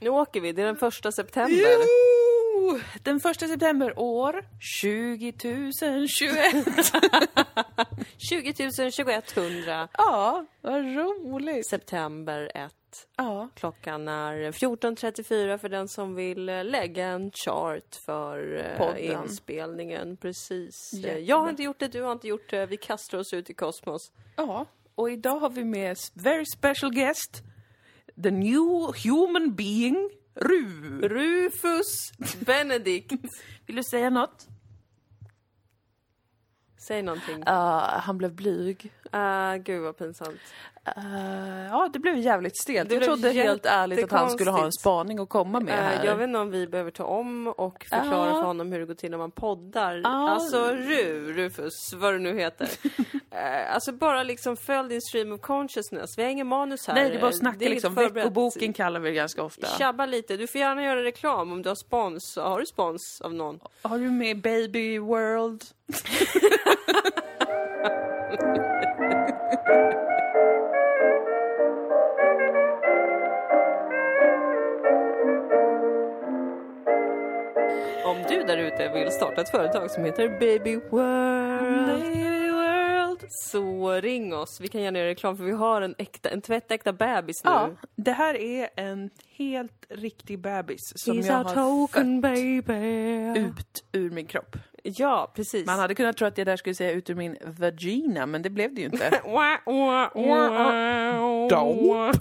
Nu åker vi, det är den första september. Jo! Den första september år 2021. 20 2100 ja, vad roligt. september 1. Ja. Klockan är 14.34 för den som vill eh, lägga en chart för eh, Podden. inspelningen. Precis. Eh, Jättebra. Jag har inte gjort det, du har inte gjort det. Vi kastar oss ut i kosmos. ja, och idag har vi med s- very special guest, the new human being, Ru. Rufus Benedict. Vill du säga något? Säg någonting. han blev blyg. Ah, gud vad pinsamt. Eh, ja, det blev jävligt stelt. Det jag blev trodde helt ärligt att han jättekonstigt. skulle ha en spaning att komma med Eh, här. jag vet inte om vi behöver ta om och förklara Ja. Ah. för honom hur det går till när man poddar. Ja. Alltså Ru, Rufus, vad du nu heter. Eh, alltså bara liksom följ din stream of consciousness. Vi har ingen manus här. Nej, det är bara att Eh, snacka inget liksom. förberett. Veckoboken kallar vi det ganska ofta. Tjabba lite. Du får gärna göra reklam om du har spons. Har du spons av någon? Har du med Baby World? Om du där ute vill starta ett företag som heter Baby Mm. World. Baby World. Så ring oss. Vi kan gärna göra reklam för vi har en, äkta, en tvättäkta bebis nu. Ja, det här är en helt riktig bebis som He's jag our har fött token baby. ut ur min kropp. Ja, precis. Man hade kunnat tro att jag där skulle säga ut ur min vagina, men det blev det ju inte. Dope.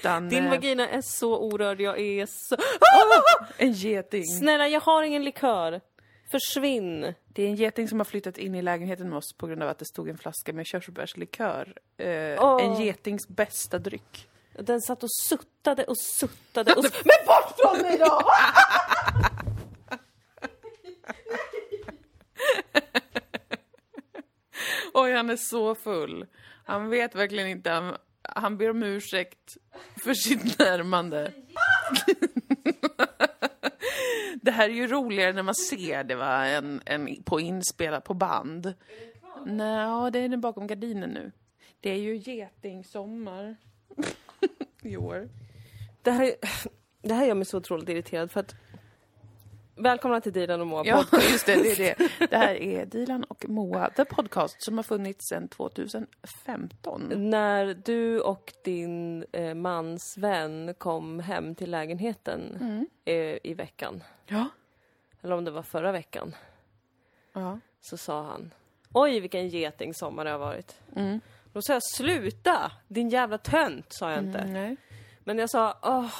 Utan, Din eh, vagina är så orörd, jag är så... En geting. Snälla, jag har ingen likör. Försvinn. Det är en geting som har flyttat in i lägenheten med oss på grund av att det stod en flaska med körsbärslikör. Eh, Åh. En getings bästa dryck. Den satt och suttade och suttade och... s- Men bort från mig då! Oj, han är så full. Han vet verkligen inte. Han, han ber om ursäkt för sitt närmande. Det här är ju roligare när man ser det va, än, än på inspelat på band. Nej, det är den bakom gardinen nu. Det är ju getingsommar i år. Det här, det här gör mig så otroligt irriterad för att... Välkomna till Dilan och Moa Ja, podd. just det. Det, är det. det här är Dilan och Moa, The Podcast, som har funnits sedan Mm. 2015. När du och din eh, mans vän kom hem till lägenheten Mm. eh, i veckan, Ja. eller om det var förra veckan, ja. så sa han Oj vilken geting sommar det har varit. Då sa jag sluta! Din jävla tönt sa jag inte. Nej. Men jag sa åh,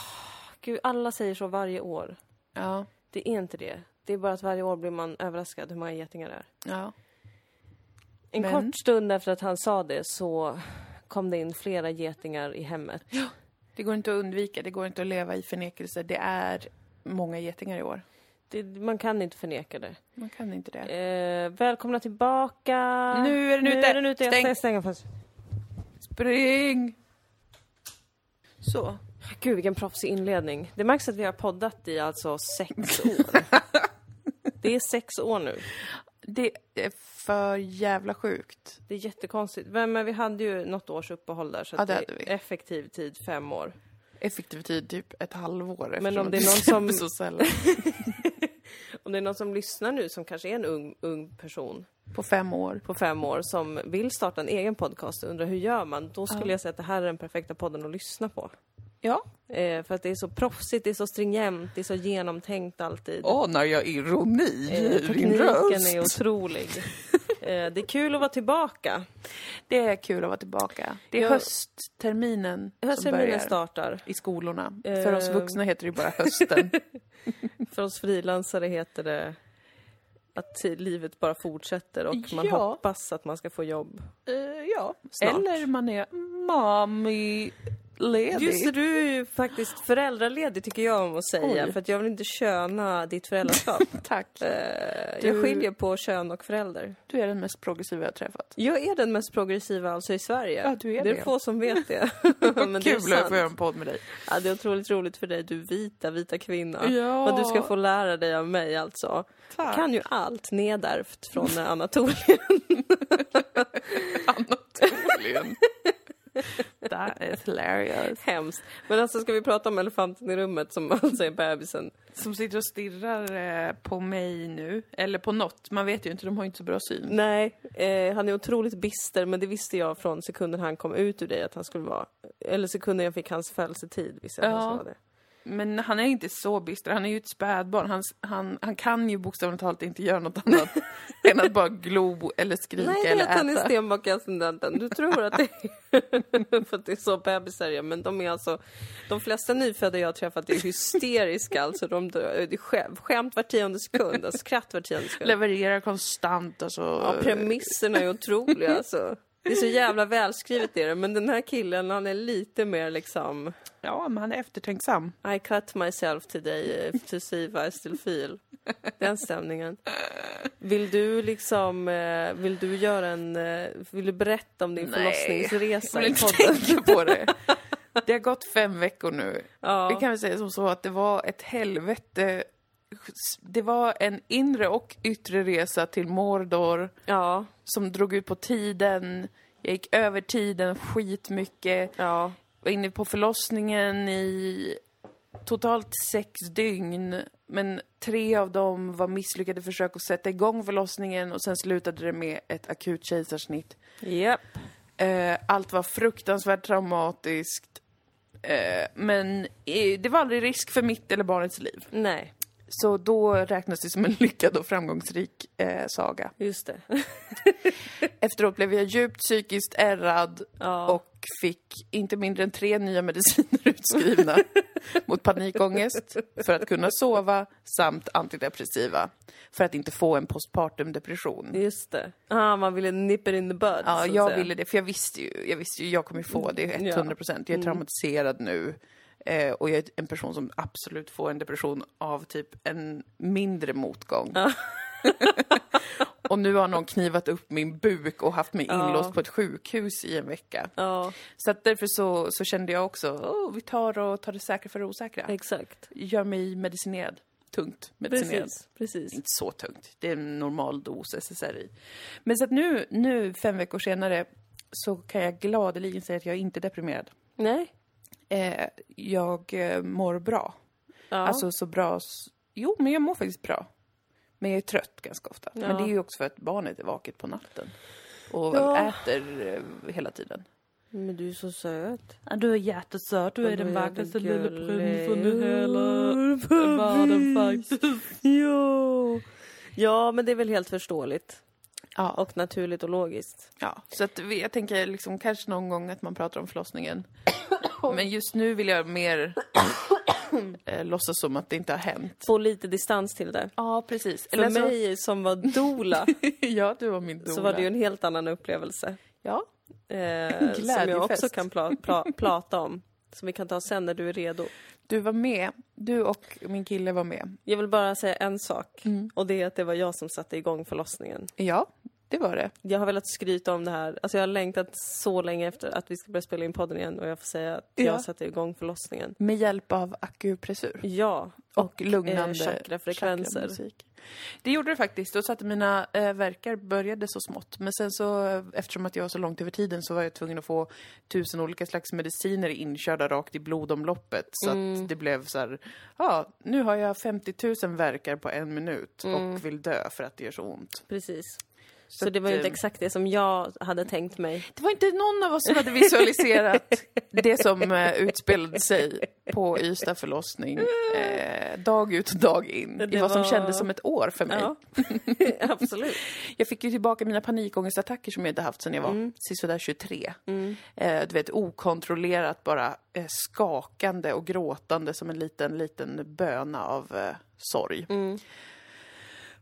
gud alla säger så varje år. Ja. Det är inte det. Det är bara att varje år blir man överraskad hur många getingar det är. ja. En Men- kort stund efter att han sa det så kom det in flera getingar i hemmet. Det går inte att undvika, det går inte att leva i förnekelse. Det är många getingar i år. Det, man kan inte förneka det. Man kan inte det. Eh, välkomna tillbaka! Nu är den ute. Jag Stäng. ska stänga fast. Spring! Så. Gud vilken proffsig inledning. Det märks att vi har poddat i alltså sex år. Det är sex år nu. Det är för jävla sjukt. Det är jättekonstigt. Men, men vi hade ju något års uppehåll där så Ja, att det det hade vi. är effektiv tid fem år. Effektiv tid, typ ett halvår. Men om eftersom det är någon som- släpps så sällan. Om det är någon som lyssnar nu som kanske är en ung, ung person På fem år. på fem år som vill starta en egen podcast och undrar hur gör man? Då skulle Ja. jag säga att det här är den perfekta podden att lyssna på. Ja. Eh, för att det är så proffsigt, det är så stringent, det är så genomtänkt alltid. Anar jag ironi Eh, tekniken är otrolig. Eh, det är kul att vara tillbaka. Det är kul att vara tillbaka. Det är Jag- höstterminen som Höstterminen börjar startar. i skolorna. Eh. För oss vuxna heter det ju bara hösten. För oss frilansare heter det att ti- livet bara fortsätter och man Ja. hoppas att man ska få jobb. Eh, ja, Snart. eller man är mami-ledig. Just det, du är ju faktiskt föräldraledig tycker jag om att säga Oj. för att jag vill inte köna ditt föräldraskap. Tack. Eh, Du- Jag skiljer på kön och förälder. Du är den mest progressiva jag har träffat. Jag är den mest progressiva alltså i Sverige. Ja, du är det är det. få som vet det. Men det är Kul att sant. få göra en podd med dig. Ja, det är otroligt roligt för dig, du vita, vita kvinna. Ja. Och du ska få lära dig av mig alltså. Tack. Kan ju allt nedärvt från eh, Anatolien. Anatolien. That is hilarious. Hemskt. Men alltså ska vi prata om elefanten i rummet som alltså är bebisen? Som sitter och stirrar eh, på mig nu. Eller på något. Man vet ju inte, de har ju inte så bra syn. Nej, eh, han är otroligt bister men det visste jag från sekunden han kom ut ur dig att han skulle vara. Eller sekunden jag fick hans födelsetid visste jag att han Ja. skulle vara det. Men han är inte så bister, han är ju ett spädbarn. Han, han, han kan ju bokstavligt talat inte göra något annat än att bara glo eller skrika Nej, det är eller att han är äta. stenbockascendenten. Du tror att det är... För att det är så bebisar är, men de är alltså... De flesta nyfödda jag har träffat är hysteriska, alltså de dör. Det är skämt, skämt var tionde sekund, alltså skratt var tionde sekund. Levererar konstant alltså. Ja, premisserna är otroliga alltså. Det är så jävla välskrivet det är det, men den här killen han är lite mer liksom Ja, men han är eftertänksam. I cut myself today eh, to see if I still feel. Den stämningen. Vill du liksom, eh, vill du göra en, eh, vill du berätta om din Nej, Jag förlossningsresa vill i inte podden? tänka på det. Det har gått fem veckor nu. Vi Ja. kan väl säga som så att det var ett helvete. Det var en inre och yttre resa till Mordor. ja, som drog ut på tiden. Jag gick över tiden skitmycket. ja, Var inne på förlossningen i totalt sex dygn. Men tre av dem var misslyckade försök att sätta igång förlossningen och sen slutade det med ett akut kejsarsnitt. japp. Eh, allt var fruktansvärt traumatiskt. Eh, men eh, det var aldrig risk för mitt eller barnets liv. Nej, Så då räknas det som en lyckad och framgångsrik eh, saga. just det. Efteråt blev jag djupt psykiskt ärrad Ja. och fick inte mindre än tre nya mediciner utskrivna mot panikångest, för att kunna sova samt antidepressiva för att inte få en postpartum depression. Just det. Ah, man ville nip it in the bud. så Ja, att jag säga. Mm, ville det, för jag visste ju, jag visste ju, jag kommer få det 100 procent. Jag är traumatiserad nu. eh, Och jag är en person som absolut får en depression av typ en mindre motgång. och nu har någon knivat upp min buk och haft mig inlåst på ett sjukhus i en vecka. Ja, Så att därför så, så kände jag också, "Åh, vi tar och tar det säkra för det osäkra. exakt. Gör mig medicinerad. Tungt medicinerad Precis, precis. inte så tungt. Det är en normal dos SSRI. Men så att nu, nu, fem veckor senare, så kan jag gladeligen säga att jag är inte deprimerad. Nej. Eh, jag eh, mår bra. Ja. Alltså så bra... s- Jo, men jag mår faktiskt bra. Men jag är trött ganska ofta. Men det är ju också för att barnet är vaket på natten. Och Ja. äter eh, hela tiden. Men du är så söt. Du är jättesöt, du är den vackraste lilla prinsen i hela världen faktiskt. Ja. Ja, men det är väl helt förståeligt. Ja, Och naturligt och logiskt. Ja, så att vi, jag tänker liksom kanske någon gång att man pratar om förlossningen. Men just nu vill jag mer eh, låtsas som att det inte har hänt. Få lite distans till det. Ja, precis. För mig som var doula ja, du var min doula. så var det ju en helt annan upplevelse. Ja, Eh, som jag också glädjefest. kan pla- pla- prata om. Som vi kan ta sen när du är redo. du var med. Du och min kille var med. Jag vill bara säga en sak. Och det är att det var jag som satte igång förlossningen. Ja, det var det. Jag har velat skryta om det här. Alltså jag har längtat så länge efter att vi ska börja spela in podden igen och jag får säga att Ja. jag satte igång förlossningen. Med hjälp av akupressur. Ja, Och lugnande chakrafrekvenser. chakramusik. Det gjorde det faktiskt. Och så att mina eh, verkar började så smått. Men sen så, eh, eftersom att jag var så långt över tiden så var jag tvungen att få tusen olika slags mediciner inkörda rakt i blodomloppet. Så att det blev så här, ja, nu har jag 50 000 verkar på en minut och vill dö för att det gör så ont. precis. Så, Så det var ju att, inte eh, exakt det som jag hade tänkt mig. Det var inte någon av oss som hade visualiserat det som eh, utspelade sig på Ystad förlossning. Eh, dag ut och dag in. Mm. Det I vad som var- kändes som ett år för mig. Ja, absolut. Jag fick ju tillbaka mina panikångestattacker som jag inte haft sedan jag var Mm. sisådär 23. Eh, du vet, okontrollerat bara eh, skakande och gråtande som en liten, liten böna av eh, sorg. Mm.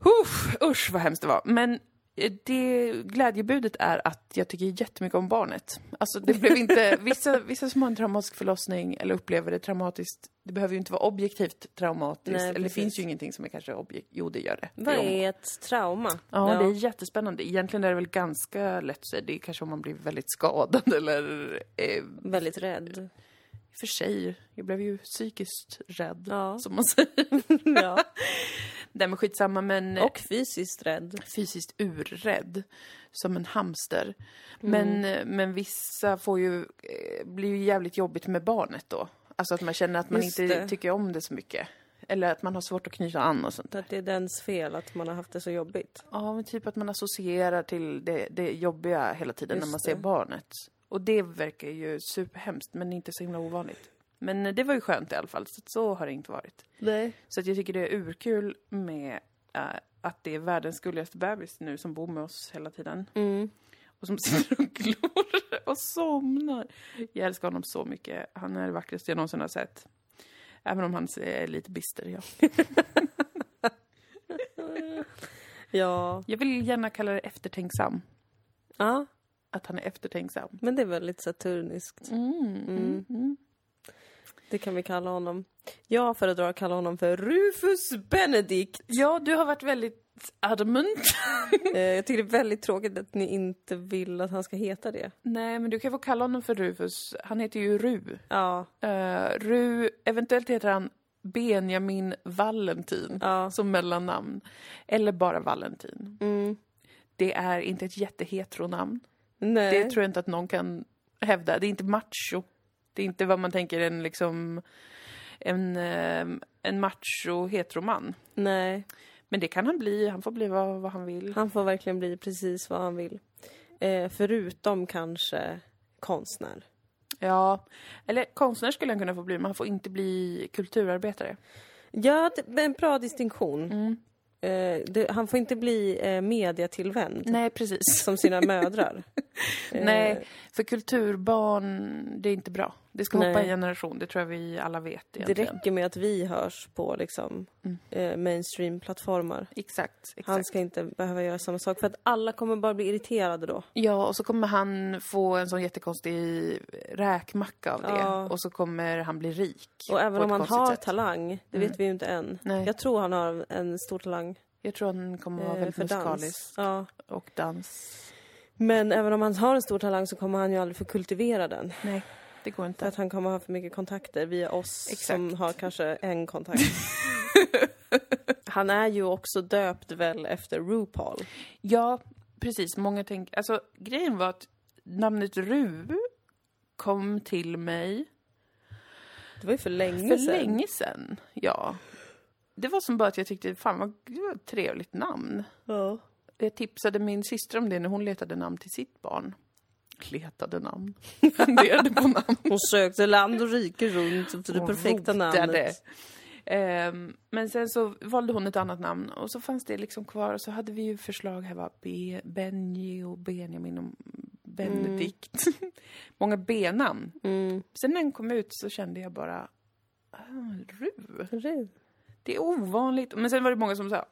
Uff, usch vad hemskt det var. Men eh, det glädjebudet är att jag tycker jättemycket om barnet. Alltså det blev inte, vissa, vissa som har en traumatisk förlossning eller upplever det traumatiskt, det behöver ju inte vara objektivt traumatiskt. Nej, eller det precis. finns ju ingenting som är kanske objektivt. Jo, det gör det. Vad Det är om- är ett trauma? Ja, det är jättespännande. Egentligen är det väl ganska lätt att säga. Det är kanske om man blir väldigt skadad eller... Eh, Väldigt rädd. för sig, jag blev ju psykiskt rädd, Ja. som man säger. ja. Nej men skitsamma men... eh, Och fysiskt rädd. fysiskt urrädd som en hamster. Mm. Men, eh, men vissa får ju, eh, blir ju jävligt jobbigt med barnet då. Alltså att man känner att man Just inte det. tycker om det så mycket. Eller att man har svårt att knyta an och sånt där. Att det är dens fel att man har haft det så jobbigt. Ja, men typ att man associerar till det, det jobbiga hela tiden när Just man ser det. barnet. Och det verkar ju superhemskt, men inte så himla ovanligt. Men eh, det var ju skönt i alla fall, så, så har det inte varit. Nej. Så att jag tycker det är urkul med eh, att det är världens gulligaste bebis nu som bor med oss hela tiden. Mm. och som sitter och glor och somnar. Jag älskar honom så mycket. Han är det vackraste jag någonsin har sett. Även om han är lite bister, ja. Ja. Jag vill gärna kalla det eftertänksam. ja, Att han är eftertänksam. men det är väldigt saturniskt. Mm. Mm. Det kan vi kalla honom. Jag föredrar att kalla honom för Rufus Benedict. Ja, du har varit väldigt adamant. Eh, jag tycker det är väldigt tråkigt att ni inte vill att han ska heta det. Nej, men du kan få kalla honom för Rufus. Han heter ju Ru. Ja, Eh, Ru, eventuellt heter han Benjamin Valentin ja. som mellannamn. Eller bara Valentin. Mm. Det är inte ett jättehetronamn. Nej. Det tror jag inte att någon kan hävda. Det är inte macho. Det är inte vad man tänker en liksom en, eh, en macho heteroman. Nej. Men det kan han bli. Han får bli vad, vad han vill. Han får verkligen bli precis vad han vill. Eh, förutom kanske konstnär. Ja, eller konstnär skulle han kunna få bli, men han får inte bli kulturarbetare. Ja, det det är en bra distinktion. Mm. Eh, det, han får inte bli eh, mediatillvänd Nej, precis. som sina mödrar. Eh, Nej, för kulturbarn, det är inte bra. Det ska hoppa Nej. en generation, det tror jag vi alla vet Det egentligen. räcker med att vi hörs på liksom, eh, mainstream-plattformar. Exakt, exakt. Han ska inte behöva göra samma sak för att alla kommer bara bli irriterade då. Ja, och så kommer han få en sån jättekonstig räkmacka av det. Ja. Och så kommer han bli rik. Och även på om han ett konstigt har sätt. Mm. talang, det vet vi ju inte än. Nej. Jag tror han har en stor talang Jag tror han kommer vara eh, väldigt för musikalisk dans. Ja. och dans. Men även om han har en stor talang så kommer han ju aldrig få kultivera den. Nej, det går För inte. att han kommer ha för mycket kontakter via oss Exakt. som har kanske en kontakt. han är ju också döpt väl efter RuPaul. Ja, precis. Många tänker... Alltså, grejen var att namnet Ru kom till mig Det var ju för länge för sedan. länge sedan. Ja. Det var som bara att jag tyckte, fan vad det var ett trevligt namn. Ja. Jag tipsade min syster om det när hon letade namn till sitt barn. Letade namn. Funderade på namn. Hon sökte land och rike runt efter det Hon perfekta rotade. namnet. Ehm, men sen så valde hon ett annat namn och så fanns det liksom kvar och så hade vi ju förslag här var B- Benji och Benjamin och Benedikt. Många B-namn. Mm. Sen när den kom ut så kände jag bara ah, Ru. Ru. Det är ovanligt. Men sen var det många som sa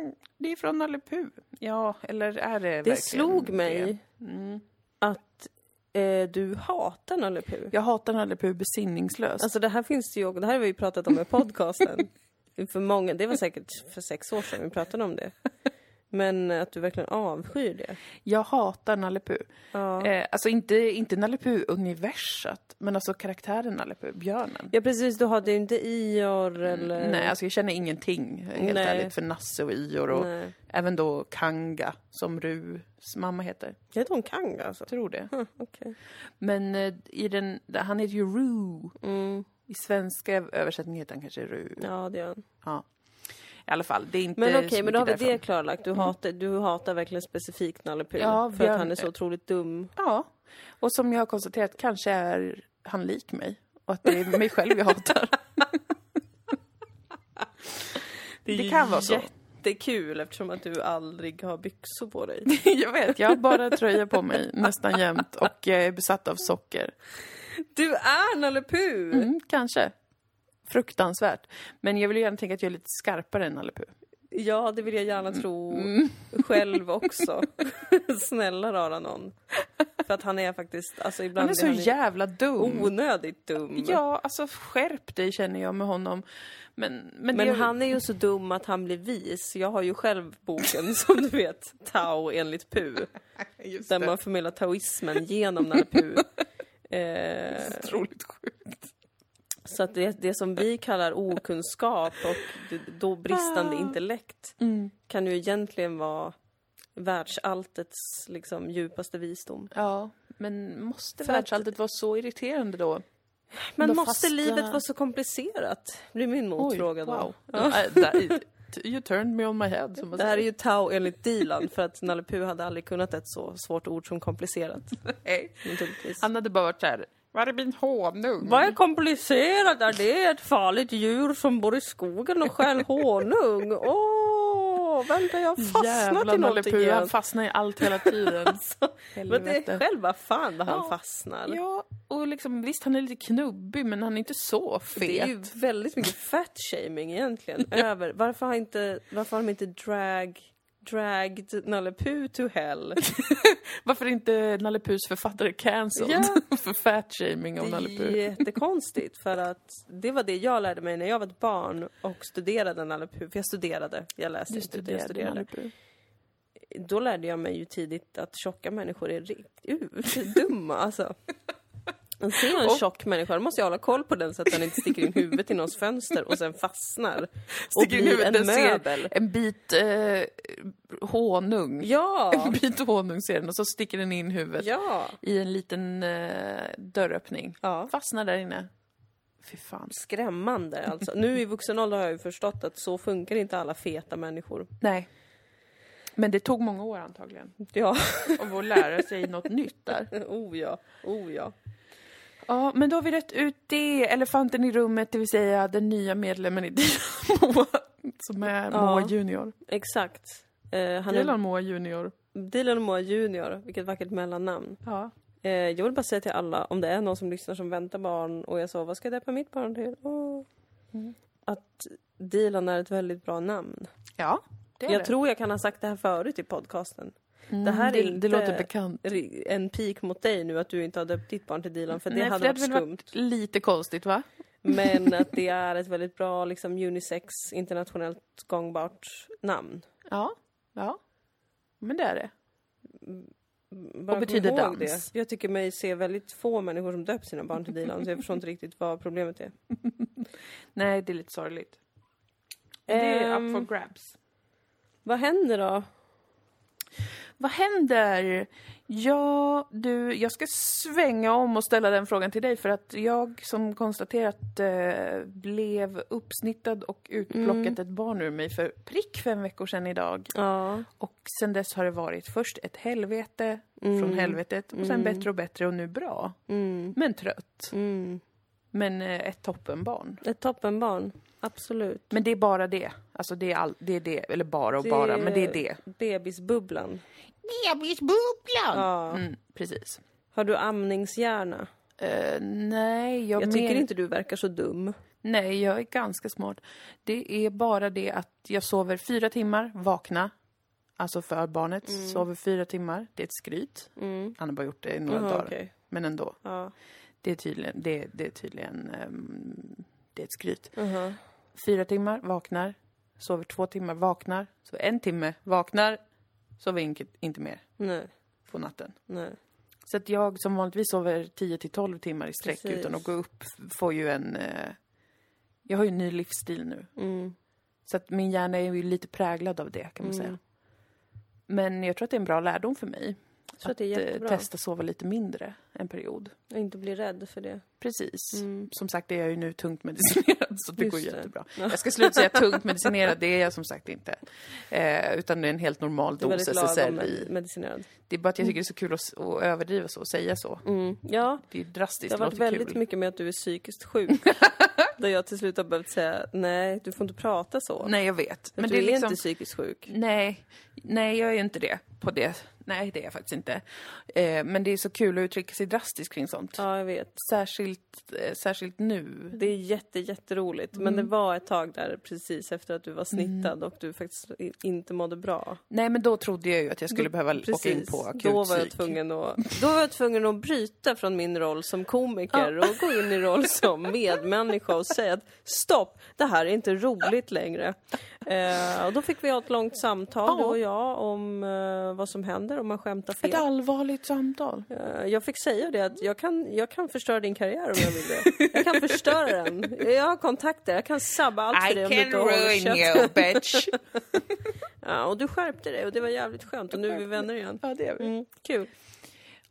mm, det är från Nalle Puh." Ja, eller är det Det verkligen slog det? mig Mm. att eh, du hatar Nalle Puh. Jag hatar Nalle Puh besinningslöst. Alltså det här finns det ju, och det här har vi ju pratat om i podcasten. för många, det var säkert för sex år sedan vi pratade om det. Men att du verkligen avskyr det. jag hatar Nalle Puh. Ja. Eh, alltså inte, inte Nalle Puh-universat, men alltså karaktären Nalle Puh, björnen. ja precis, du hade ju inte Ior eller... Nej, alltså jag känner ingenting helt Nej. ärligt för Nasse och Ior och Nej. även då Kanga som Rus mamma heter. Heter hon Kanga alltså? Tror det. Hm, Okej. Men eh, i den, han heter ju Ru. Mm. I svenska översättning heter han kanske Ru. Ja det gör hon. Ja. I alla fall, det är inte Men okej, så men då har vi mycket det därifrån. klarlagt. Du, hatar, du hatar verkligen specifikt Nalle Puh. Ja, för Björn- att han är så otroligt dum. Ja, och som jag har konstaterat kanske är han lik mig och att det är mig själv jag hatar. är det kan vara så. Jättekul eftersom att du aldrig har byxor på dig. Jag vet, jag har bara tröja på mig nästan jämt och jag är besatt av socker. Du är Nalle Puh! Mm, kanske. Fruktansvärt. Men jag vill ju gärna tänka att jag är lite skarpare än Nalle Puh. Ja, det vill jag gärna tro Mm. själv också. Snälla rara någon. För att han är faktiskt, alltså ibland Han är så jävla Oh. dum. onödigt dum. Ja, alltså skärp dig känner jag med honom. Men, men, Men det, han är ju så dum att han blir vis. Jag har ju själv boken som du vet, Tao enligt Pu. Just Där det, man förmedlar taoismen genom Nalle Puh. Eh, otroligt sjukt. Så att det, det som vi kallar okunskap och d- då bristande intellekt kan ju egentligen vara världsalltets liksom, djupaste visdom. Ja, men måste För att- världsalltet vara så irriterande då? Men Då måste fastnar- livet vara så komplicerat? Blir min motfråga då. wow. Ja, äh, that- you turned me on my head. Som man Det här är säger. ju Tao enligt Dilan för att Nalle Puh hade aldrig kunnat ett så svårt ord som komplicerat. Nej. Naturligtvis. Han hade bara varit såhär, var är min honung? Vad är komplicerat? Är det ett farligt djur som bor i skogen och stjäl honung? Åh, vänta jag har fastnat Jävla i någonting Nalle han igen. fastnar i allt hela tiden. Alltså, Men det är Helvete. själva fan vad han Ja. fastnar. Ja, och liksom visst han är lite knubbig men han är inte så fet. Det är ju väldigt mycket fat-shaming egentligen. Över. Varför, har inte, varför har de inte drag, dragged Nalle Puh to hell? Varför är inte Nalle Puhs författare cancelled? För fatshaming av Det Nalle är Puh. jättekonstigt för att det var det jag lärde mig när jag var ett barn och studerade Nalle Puh. För jag studerade, jag läste inte utan jag studerade. Puh. Då lärde jag mig ju tidigt att tjocka människor är riktigt dumma alltså. Man ser jag en Och- tjock människa, då måste jag hålla koll på den så att den inte sticker in huvudet i någons fönster och sen fastnar. Och Sticker in blir huvudet, en den möbel. ser en bit eh, honung. Ja! En bit honung ser den och så sticker den in huvudet Ja! i en liten eh, dörröppning. Ja. Fastnar där inne. Fy fan. Skrämmande alltså. Nu i vuxen ålder har jag ju förstått att så funkar inte alla feta människor. Nej. Men det tog många år antagligen. Ja. Av att lära sig något nytt där. oh ja. Oh ja. Ja, men då har vi rätt ut det. Elefanten i rummet, det vill säga den nya medlemmen i Dilan Moa. Som är Moa Ja. Junior. Exakt. Eh, han Dilan Moa Junior. är Dilan Moa Junior, vilket vackert mellannamn. Ja. Eh, jag vill bara säga till alla, om det är någon som lyssnar som väntar barn och jag sa vad ska jag döpa mitt barn till? Åh. Mm. Att Dilan är ett väldigt bra namn. Ja, det är Jag det. tror jag kan ha sagt det här förut i podcasten. Mm, det här är det, inte- det låter bekant. Ri- En pik mot dig nu att du inte har döpt ditt barn till Dilan för det Nej, för hade det varit hade väl skumt. varit lite konstigt va? Men att det är ett väldigt bra liksom, unisex, internationellt gångbart namn. Ja, ja. Men det är det. Bara Och kom betyder ihåg dans. Det. Jag tycker mig se väldigt få människor som döpt sina barn till Dilan, så jag förstår inte riktigt vad problemet är. Nej, det är lite sorgligt. Det är Ehm, up for grabs. Vad händer då? Vad händer? Ja, du, jag ska svänga om och ställa den frågan till dig för att jag som konstaterat eh, blev uppsnittad och utplockat Mm. ett barn ur mig för prick fem veckor sedan idag. Ja, Och sen dess har det varit först ett helvete, Mm, från helvetet och sen bättre och bättre och nu bra. Men trött. Mm. Men eh, ett toppenbarn. ett toppenbarn. Absolut. Men det är bara det. Alltså det är, all, det, är det, eller bara och bara, men det är det. Bebisbubblan. Bebisbubblan! Ja. Mm, precis. Har du amningshjärna? Eh, nej, jag, Jag mer- tycker inte du verkar så dum. Nej, jag är ganska smart. Det är bara det att jag sover fyra timmar, vakna. Alltså för barnet. Mm. Sover fyra timmar. Det är ett skryt. Han har bara gjort det i några Jaha, dagar. okej. Men ändå. Ja. Det är tydligen... Det, det är tydligen... ehm, det är ett skryt. Fyra timmar, vaknar. Sover två timmar, vaknar. Så en timme, vaknar. Sover inte, inte mer Nej, på natten. nej. Så att jag som vanligtvis sover 10 till 12 timmar i sträck Precis. utan att gå upp f- får ju en... Eh, jag har ju en ny livsstil nu. Så att min hjärna är ju lite präglad av det Mm. kan man säga. Men jag tror att det är en bra lärdom för mig. Mm. Jag tror att det är eh, jättebra. testa sova lite mindre en period. Och inte bli rädd för det. Mm. Precis. Som sagt är jag ju nu tungt medicinerad så det Just går det. jättebra. Jag ska sluta säga tungt medicinerad, det är jag som sagt inte. Eh, utan det är en helt normal Du är dos väldigt lagom Mm. SSRI. med- medicinerad. Det är bara att jag tycker det är så kul att, s- att överdriva så och säga så. Mm. Ja, Det är drastiskt, Det har varit låter väldigt kul. mycket med att du är psykiskt sjuk. där jag till slut har behövt säga nej, du får inte prata så. Nej, jag vet. men Men du det är liksom... inte psykiskt sjuk. Nej, nej, jag är ju inte det på det. Nej, det är jag faktiskt inte. Eh, men det är så kul att uttrycka sig drastiskt kring sånt. Ja, jag vet. Särskilt, eh, särskilt nu. Det är jätte, jätteroligt. Men det var ett tag där precis efter att du var snittad och du faktiskt i- inte mådde bra. Nej, men då trodde jag ju att jag skulle behöva åka in på Då var, jag akutpsyk. tvungen att, då var jag tvungen att bryta från min roll som komiker och gå in i roll som medmänniska och säga att stopp, det här är inte roligt längre. Eh, och då fick vi ha ett långt samtal, du och jag, om eh, eh, vad som händer om man skämtar fel. Ett allvarligt samtal. Eh, Jag fick säga det att jag kan, jag kan förstöra din karriär om jag vill det. Jag kan förstöra den. Jag har kontakter, jag kan sabba allt för dig om du inte håller käften. bitch. Ja, och du skärpte dig och det var jävligt skönt och nu är vi vänner igen. ja, det är vi. Mm, kul.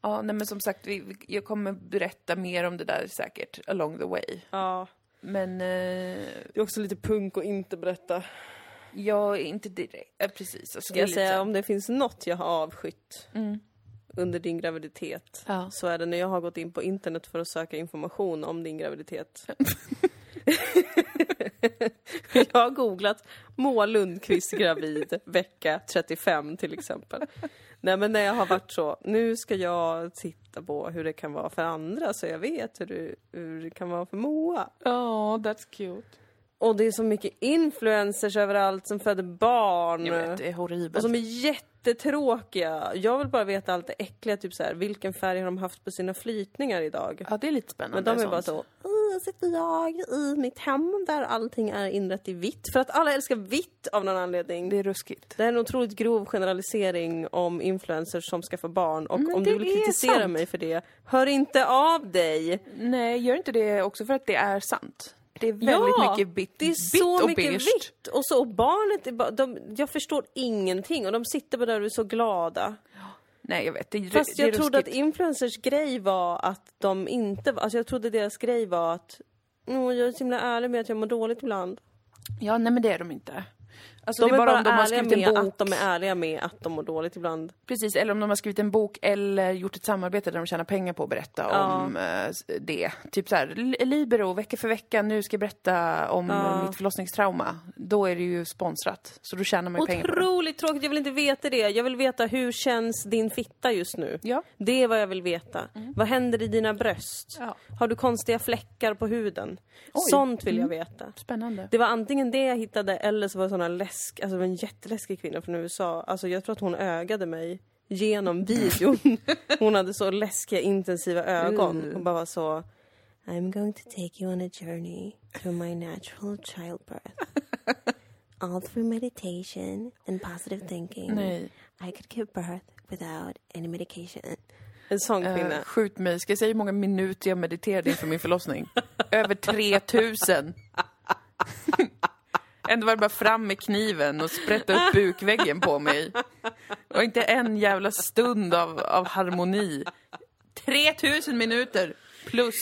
Ja, nej, men som sagt, vi, vi- jag kommer berätta mer om det där säkert along the way. Ja. Men eh, Det är också lite punk att inte berätta. jag är inte direkt... Ja, precis. alltså, Ska jag säga om det finns något jag har avskytt Mm. under din graviditet Ja. så är det när jag har gått in på internet för att söka information om din graviditet. jag har googlat Moa Lundqvist gravid vecka 35 till exempel. Nej men när jag har varit så, nu ska jag titta på hur det kan vara för andra så jag vet hur, du, hur det kan vara för Moa. Ja, that's cute. Och det är så mycket influencers överallt som föder barn. Jag vet, det är Och horribelt. som är jättetråkiga. Jag vill bara veta allt det äckliga, typ så här, vilken färg har de haft på sina flytningar idag? Ja, det är lite spännande. Men de är bara sånt. så, "Åh, sitter jag i mitt hem där allting är inrett i vitt. För att alla älskar vitt av någon anledning. Det är ruskigt. Det här är en otroligt grov generalisering om influencers som ska få barn och Men om du det vill är kritisera sant. mig för det, hör inte av dig! Nej, gör inte det också för att det är sant. Det är väldigt Ja, mycket bit, Det är bit så och mycket beige. vitt! Och så och barnet, är bara, de, jag förstår ingenting och de sitter bara där och är så glada. Nej, jag vet. Det, är- Fast det jag är trodde att ruskigt. influencers grej var att de inte var, alltså jag trodde deras grej var att "Åh, jag är så himla ärlig med att jag mår dåligt ibland. Ja, nej men det är de inte. Alltså, De det är är bara, bara om de har ärliga skrivit med en bok. att de är ärliga med att de mår dåligt ibland. Precis, eller om de har skrivit en bok eller gjort ett samarbete där de tjänar pengar på att berätta Ja. om eh, s- det. Typ så här, Li- Libero, vecka för vecka, nu ska jag berätta om Ja. mitt förlossningstrauma. Då är det ju sponsrat, så då tjänar man ju pengar på det. Otroligt tråkigt, jag vill inte veta det. Jag vill veta hur känns din fitta just nu? Ja. Mm. Det är vad jag vill veta. Vad händer i dina bröst? Ja. Har du konstiga fläckar på huden? Oj. Mm. Sånt vill jag veta. Spännande. Det var antingen det jag hittade eller så var det såna läsk, alltså det var en jätteläskig kvinna från USA. Alltså jag tror att hon ögade mig genom videon. Hon hade så läskiga intensiva Mm. ögon och bara var så I'm going to take you on a journey through my natural childbirth. All through meditation and positive thinking. Nej. I could give birth without any medication. En sån kvinna. Eh, skjut mig. Ska jag säga hur många minuter jag mediterade inför min förlossning? Över 3000. Ändå var det bara fram med kniven och sprätta upp bukväggen på mig. Och inte en jävla stund av, av harmoni. 3000 minuter plus.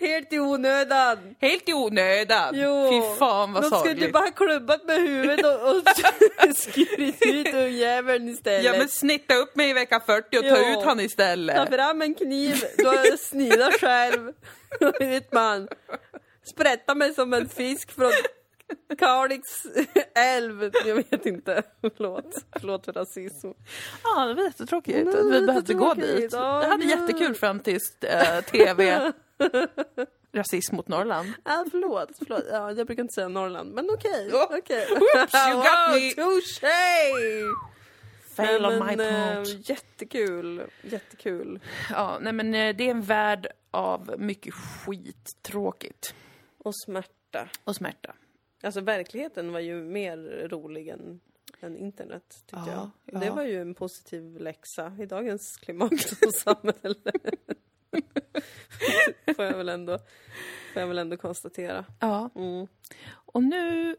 Helt i onödan! Helt i onödan. Fy fan vad De skulle sorgligt. bara ha klubbat med huvudet och, och skurit ut ungjäveln istället. Ja men snitta upp mig i vecka 40 och ta Ja. ut han Ta istället. fram en kniv, du har snidat själv. Vet man. Sprätta mig som en fisk från Kalix älv. Jag vet inte. Förlåt. Förlåt för rasism. Ja, det var jättetråkigt Nej, att vi behövde gå jättetråkigt. dit. Ja, Jag hade nej. jättekul fram tills eh, tv Rasism mot Norrland. Ah, förlåt. förlåt. Ja, jag brukar inte säga Norrland, men okej. Oh. okej. Oops, you got wow, me. touché! Fail Nej, on my men, part. eh, jättekul. Jättekul. Ja, nej men eh, det är en värld av mycket skit, tråkigt Och smärta. och smärta. Alltså verkligheten var ju mer rolig än, än internet tyckte Ja, jag. Och Det ja. var ju en positiv läxa i dagens klimat och samhälle. får, jag väl ändå, får jag väl ändå konstatera. Ja, Mm. och nu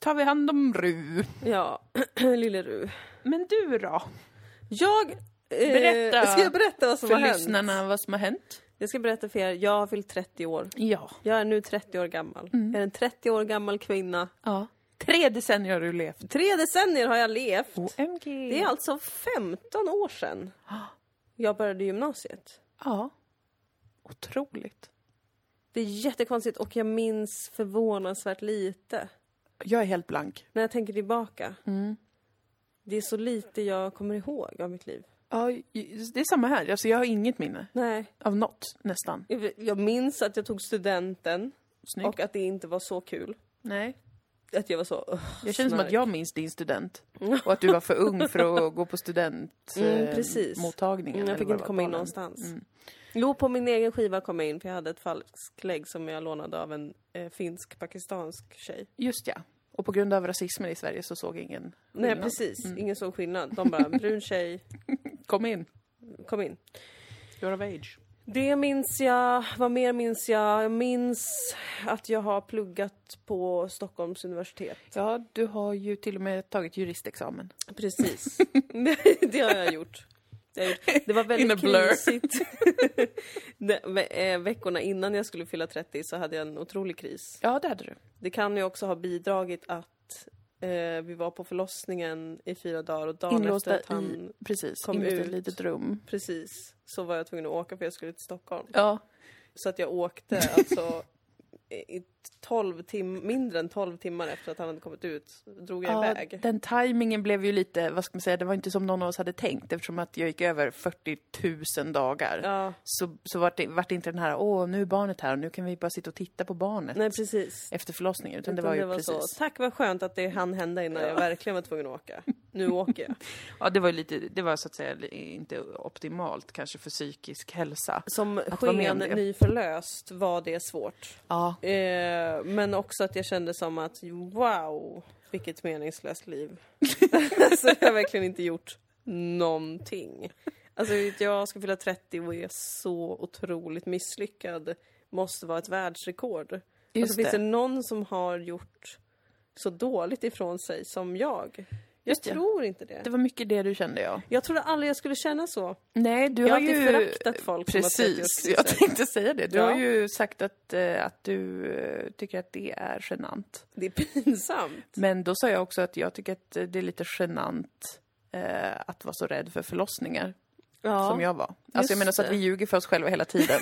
tar vi hand om Ru. Ja, lille Ru. Men du då? Jag... eh, Berätta ska jag berätta vad som För har hänt? lyssnarna, vad som har hänt? Jag ska berätta för er, jag har fyllt 30 år. Ja. Jag är nu 30 år gammal. Mm. Jag är en 30 år gammal kvinna. ja. Tre decennier har du levt. Tre decennier har jag levt. OMG. Det är alltså 15 år sedan jag började gymnasiet. Ja. Otroligt. Det är jättekonstigt och jag minns förvånansvärt lite Jag är helt blank. när jag tänker tillbaka. Mm. Det är så lite jag kommer ihåg av mitt liv. Ja, i- det är samma här. Alltså, jag har inget minne Nej, av något, nästan. jag- jag minns att jag tog studenten Snyggt. och att det inte var så kul. Nej. Att jag var så... "Ugh, Jag känner som snark." att jag minns din student och att du var för ung för att gå på Mm, precis. studentmottagningen. Mm, Jag fick inte komma in någonstans. Mm. Jo, på min egen skiva kom jag in för jag hade ett falskt lägg som jag lånade av en eh, finsk-pakistansk tjej. Just ja. Och på grund av rasismen i Sverige så såg ingen Nej, skillnad. Mm. precis. Ingen sån skillnad. De bara, brun tjej, Kom in, kom in. you're of age. Det minns jag. Vad mer minns jag? Jag minns att jag har pluggat på Stockholms universitet. Ja, du har ju till och med tagit juristexamen. Precis. det har jag gjort. Det, har jag gjort. det var In a väldigt blur. krisigt. Nej, men, eh, Veckorna innan jag skulle fylla 30 så hade jag en otrolig kris. Ja, det hade du. Det kan ju också ha bidragit att eh, vi var på förlossningen i fyra dagar och dagen Inlåsta efter att han... i, precis, kom inlåsta i ut. ett litet rum. Precis. Så var jag tvungen att åka för jag skulle till Stockholm. Ja, Så att jag åkte alltså i i 12 tim- mindre än 12 timmar efter att han hade kommit ut. Drog jag ja iväg. den tajmingen blev ju lite, vad ska man säga, det var inte som någon av oss hade tänkt eftersom att jag gick över 40 000 dagar. Ja, Så, så vart det, vart det inte den här, åh nu är barnet här och nu kan vi bara sitta och titta på barnet nej precis. efter förlossningen. Utan det Utan var ju precis. så, tack vad skönt att det hann hända innan jag verkligen var tvungen att åka. Nu åker jag. Ja, det var ju lite, det var så att säga li- inte optimalt kanske för psykisk hälsa. Som vara med om sken det. nyförlöst var det svårt. Ja, Eh, men också att jag kände som att wow, vilket meningslöst liv. alltså jag har verkligen inte gjort någonting. Alltså vet jag ska fylla 30 och är så otroligt misslyckad. Måste vara ett världsrekord. just Alltså, finns det det. någon som har gjort så dåligt ifrån sig som jag? Jag Just det. tror inte det. Det var mycket det du kände, ja. Jag trodde aldrig jag skulle känna så. Nej, du jag har har alltid ju... föraktat folk som har Precis, 30 jag tänkte säga det. Du Ja. har ju sagt att, eh, att du eh, tycker att det är genant. Det är pinsamt. Men då sa jag också att jag tycker att eh, det är lite genant eh, att vara så rädd för förlossningar, Ja. som jag var. Alltså jag menar så att det. vi ljuger för oss själva hela tiden.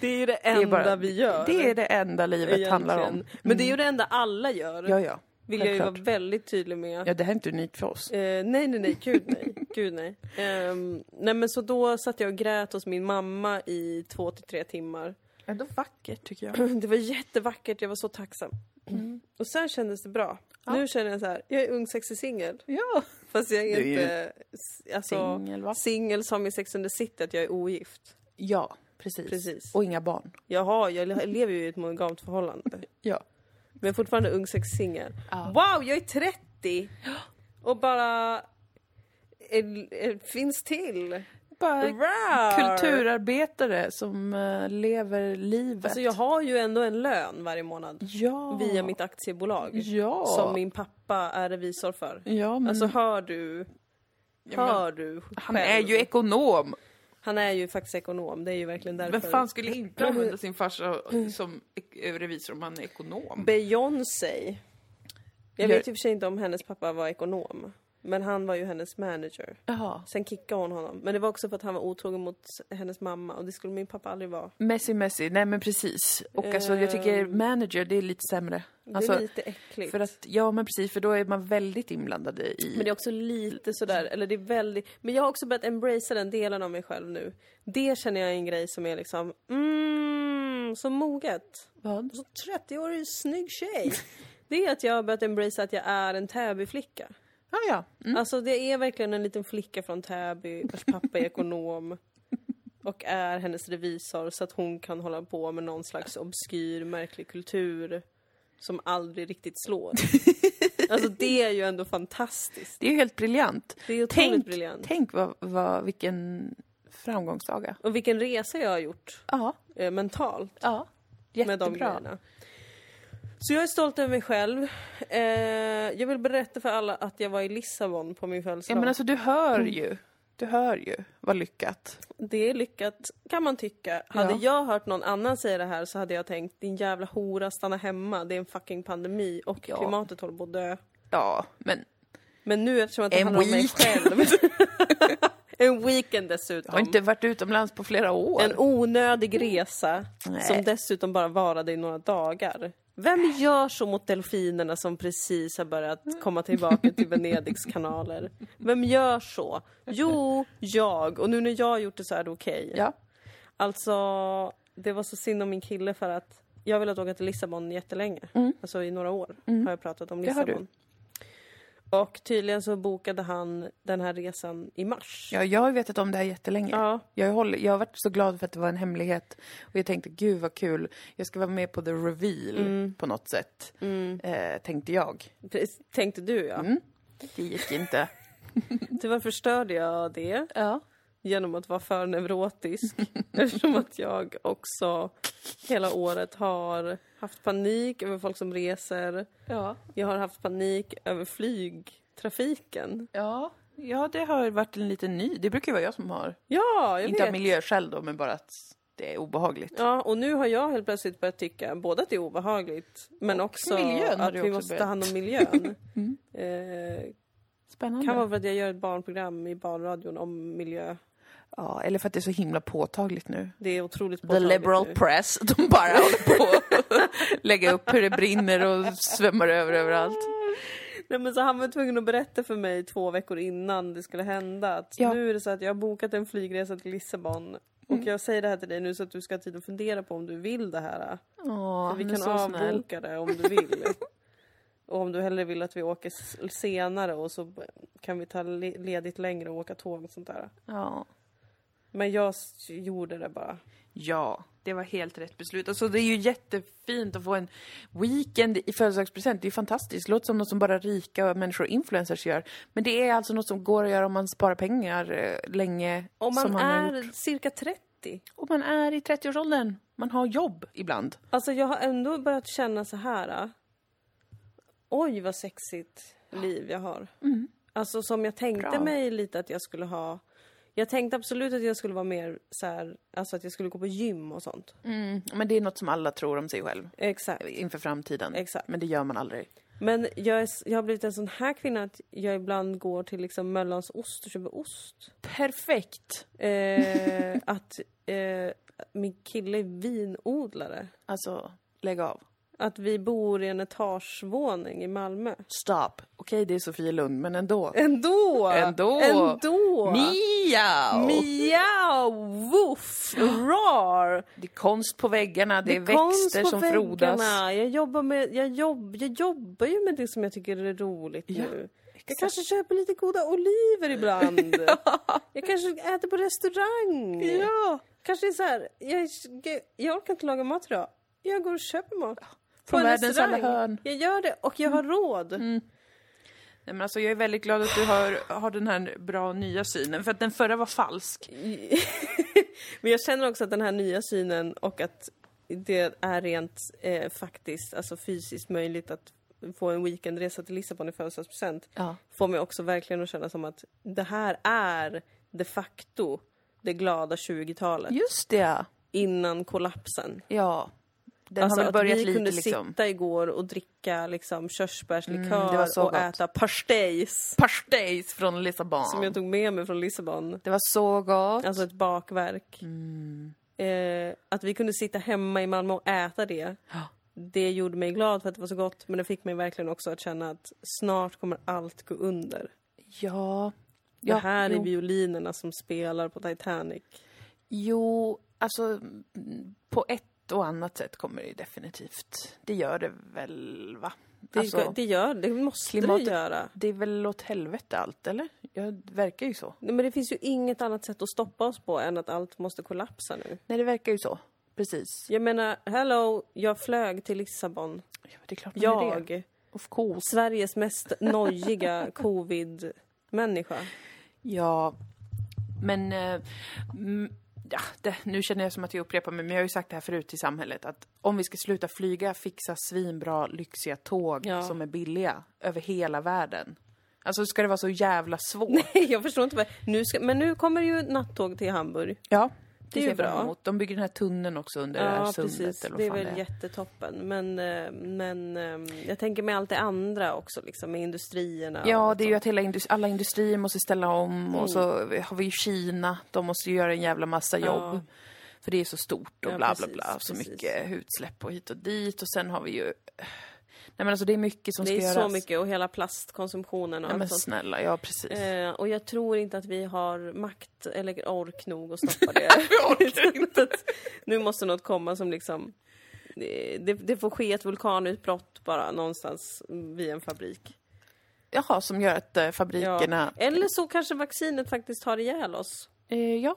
Det är det Det enda är bara- vi gör. Det är det enda livet handlar om. egentligen. Men det är ju det enda alla gör. Ja, ja. vill jag ju vara självklart. väldigt tydlig med. Ja, det här är inte unikt för oss. Eh, nej, nej, nej, gud nej. gud, nej. Ehm, nej men så då satt jag och grät hos min mamma i två till tre timmar. Ändå vackert, tycker jag. Det var jättevackert, jag var så tacksam. Mm. Och sen kändes det bra. Nu känner jag så här, jag är ung, sexig singel. Ja. Fast jag är Du är ju inte... Alltså, Singel, va? singel som i Sex and the City, att jag är ogift. Ja, precis. Precis. Och inga barn. Jag, har, jag lever ju i ett monogamt förhållande. Ja. Men fortfarande ung sexig singel. Ja. Wow, jag är 30! Och bara... är- är- finns till! Bara Rar. kulturarbetare som eh, lever livet. Alltså jag har ju ändå en lön varje månad ja. via mitt aktiebolag. Ja. Mm. Som min pappa är revisor för. Ja, men... Alltså hör du... Hör du själv. han är ju ekonom. Han är ju faktiskt ekonom, det är ju verkligen därför. Vem fan skulle inte använda sin farsa som ek- revisor om han är ekonom? Beyoncé. Jag Gör- vet i och för sig inte om hennes pappa var ekonom. Men han var ju hennes manager. Ja. Sen kickade hon honom. Men det var också för att han var otrogen mot hennes mamma och det skulle min pappa aldrig vara. Messi, Messi. Nej men precis. Och alltså jag tycker manager, det är lite sämre. Alltså, det är lite äckligt. för att, ja men precis, för då är man väldigt inblandad i... Men det är också lite sådär, eller det är väldigt... Men jag har också börjat embracea den delen av mig själv nu. Det känner jag är en grej som är liksom, mm, så moget. Vad? Så 30-årig snygg tjej. Det är att jag har börjat embracea att jag är en Täbyflicka. Ja, ja. Mm. Alltså det är verkligen en liten flicka från Täby vars pappa är ekonom och är hennes revisor så att hon kan hålla på med någon slags obskyr, märklig kultur som aldrig riktigt slår. Alltså det är ju ändå fantastiskt. Det är ju helt briljant. Det är otroligt Tänk, briljant. tänk vad, vad, vilken framgångssaga. Och vilken resa jag har gjort Ja, eh, mentalt ja. med de Jättebra. grejerna. Så jag är stolt över mig själv. Eh, jag vill berätta för alla att jag var i Lissabon på min Ja, födelsedag. men alltså du hör ju. Du hör ju vad lyckat. Det är lyckat, kan man tycka. Hade Ja. jag hört någon annan säga det här så hade jag tänkt din jävla hora, stanna hemma, det är en fucking pandemi och Ja. klimatet håller på att dö. Ja, men Men nu eftersom att det En handlar om mig weekend. själv. en weekend jag dessutom. har inte varit utomlands på flera år. En onödig resa Nej. som dessutom bara varade i några dagar. Vem gör så mot delfinerna som precis har börjat komma tillbaka till Venedigs kanaler? Vem gör så? Jo, jag. Och nu när jag har gjort det så är det okej. Ja. Alltså, det var så synd om min kille för att jag har velat åka till Lissabon jättelänge. Alltså i några år har jag pratat om Mm. Det har Lissabon. du. Och tydligen så bokade han den här resan i mars. Ja, jag har ju vetat om det här jättelänge. Ja. Jag, håller, jag har varit så glad för att det var en hemlighet. Och jag tänkte, gud vad kul. Jag ska vara med på the reveal på något sätt. Eh, tänkte jag. Precis, Tänkte du Mm. ja. Det gick inte. Tyvärr förstörde jag det ja. genom att vara för neurotisk. eftersom att jag också hela året har haft panik över folk som reser. Ja. Jag har haft panik över flygtrafiken. ja. Ja, det har varit en liten ny. Det brukar ju vara jag som har. Ja, jag inte av vet. miljöskäl då, men bara att det är obehagligt. Ja, och nu har jag helt plötsligt börjat tycka både att det är obehagligt men också miljön har att du vi också måste ta börjat. hand om miljön. eh, Spännande. kan vara för att jag gör ett barnprogram i barnradion om miljö. Ja, eller för att det är så himla påtagligt nu. Det är otroligt The påtagligt liberal nu. press, de bara håller på att lägga upp hur det brinner och svämmar över överallt. Nej, men så han var tvungen att berätta för mig två veckor innan det skulle hända att Ja. Mm. nu är det så att jag har bokat en flygresa till Lissabon och jag säger det här till dig nu så att du ska ha tid att fundera på om du vill det här. Åh, vi han är kan så snäll. avboka det om du vill. och om du hellre vill att vi åker s- senare och så b- kan vi ta le- ledigt längre och åka tåg och sånt där. Ja. Men jag s- gjorde det bara. ja, det var helt rätt beslut. Alltså det är ju jättefint att få en weekend i födelsedagspresent. Det är ju fantastiskt. Det låter som något som bara rika människor och influencers gör. Men det är alltså något som går att göra om man sparar pengar eh, länge. Om man som han har gjort. är cirka 30. Och man är i 30-årsåldern. Man har jobb ibland. Alltså jag har ändå börjat känna så här. ah. Oj vad sexigt liv jag har. Alltså som jag tänkte Mm. Bra. mig lite att jag skulle ha. Jag tänkte absolut att jag skulle vara mer så här, alltså att jag skulle gå på gym och sånt. Mm. Men det är något som alla tror om sig själv Exakt. inför framtiden. Exakt. Men det gör man aldrig. Men jag, är, s- jag har blivit en sån här kvinna att jag ibland går till liksom Möllands ost och köper ost. Perfekt! Eh, att eh, min kille är vinodlare. Alltså, lägg av. Att vi bor i en etagevåning i Malmö. Stop. Okej, det är Sofie Lund, men ändå. Ändå! Ändå! Ändå! Miau! Miau! Woof! Rar! Det är konst på väggarna, det, är konst växter på som väggarna. frodas. Jag jobbar, med, jag, jobb, jag jobbar ju med det som jag tycker är roligt nu. Jag kanske köper lite goda oliver ibland. Jag kanske äter på restaurang. Ja! Kanske är så här, jag, jag orkar inte laga mat idag. Jag går och köper mat. På Från en världens alla restaurang. hörn. Mm. Jag gör det och jag har råd. Nej, men alltså, jag är väldigt glad att du har, har den här bra nya synen, för att den förra var falsk. Men jag känner också att den här nya synen och att det är rent eh, faktiskt, alltså fysiskt möjligt att få en weekendresa till Lissabon i födelsedagspresent Ja. får mig också verkligen att känna som att det här är de facto det glada 20-talet Just det! innan kollapsen. Ja. Den Alltså har väl att börjat vi lite kunde liksom. Mm, sitta igår och dricka liksom körsbärslikör det var så och gott. äta pastejs Pastejs från Lissabon. som jag tog med mig från Lissabon. Det var så gott. Alltså ett bakverk. Eh, att vi kunde sitta hemma i Malmö och äta det. Det gjorde mig glad för att det var så gott men det fick mig verkligen också att känna att snart kommer allt gå under. Ja. ja. det här jo. är violinerna som spelar på Titanic. Jo, alltså mm, på ett och annat sätt kommer det ju definitivt. Det gör det väl, va? Det, Alltså, det gör det, måste klimatet- det göra. det är väl åt helvete allt, eller? Ja, det verkar ju så. Nej, men det finns ju inget annat sätt att stoppa oss på än att allt måste kollapsa nu. Nej, det verkar ju så. Precis. Jag menar, hello, jag flög till Lissabon. Ja, men det är klart man gör det. Jag, Of course. Sveriges mest nojiga covid-människa. Ja, men... eh, mm, Ja, det, nu känner jag som att jag upprepar mig, men jag har ju sagt det här förut till samhället att om vi ska sluta flyga, fixa svinbra, lyxiga tåg Ja. som är billiga över hela världen. Alltså, ska det vara så jävla svårt? Jag förstår inte. vad- Nu ska, men nu kommer ju nattåg till Hamburg. Ja, det, är är ju bra. bra. Emot. De bygger den här tunneln också under det här sundet. Eller vad Det är fan väl det är. jättetoppen. Men, eh, men eh, jag tänker med allt det andra också, liksom, med industrierna. Ja, och det är ju att hela indus- alla industrier måste ställa om Mm. och så har vi ju Kina, de måste ju göra en jävla massa jobb. För det är så stort och Ja, bla bla precis, bla, så precis. mycket utsläpp och hit och dit och sen har vi ju... Nej men alltså det är mycket som det är ska så göras. mycket och hela plastkonsumtionen och Nej men allt sånt. snälla, ja precis. Eh, och jag tror inte att vi har makt eller ork nog att stoppa det. Att nu måste något komma som liksom... Det, det får ske ett vulkanutbrott bara någonstans vid en fabrik. Jaha, som gör att eh, fabrikerna... Ja. Eller så kanske vaccinet faktiskt har ihjäl oss. Eh, ja.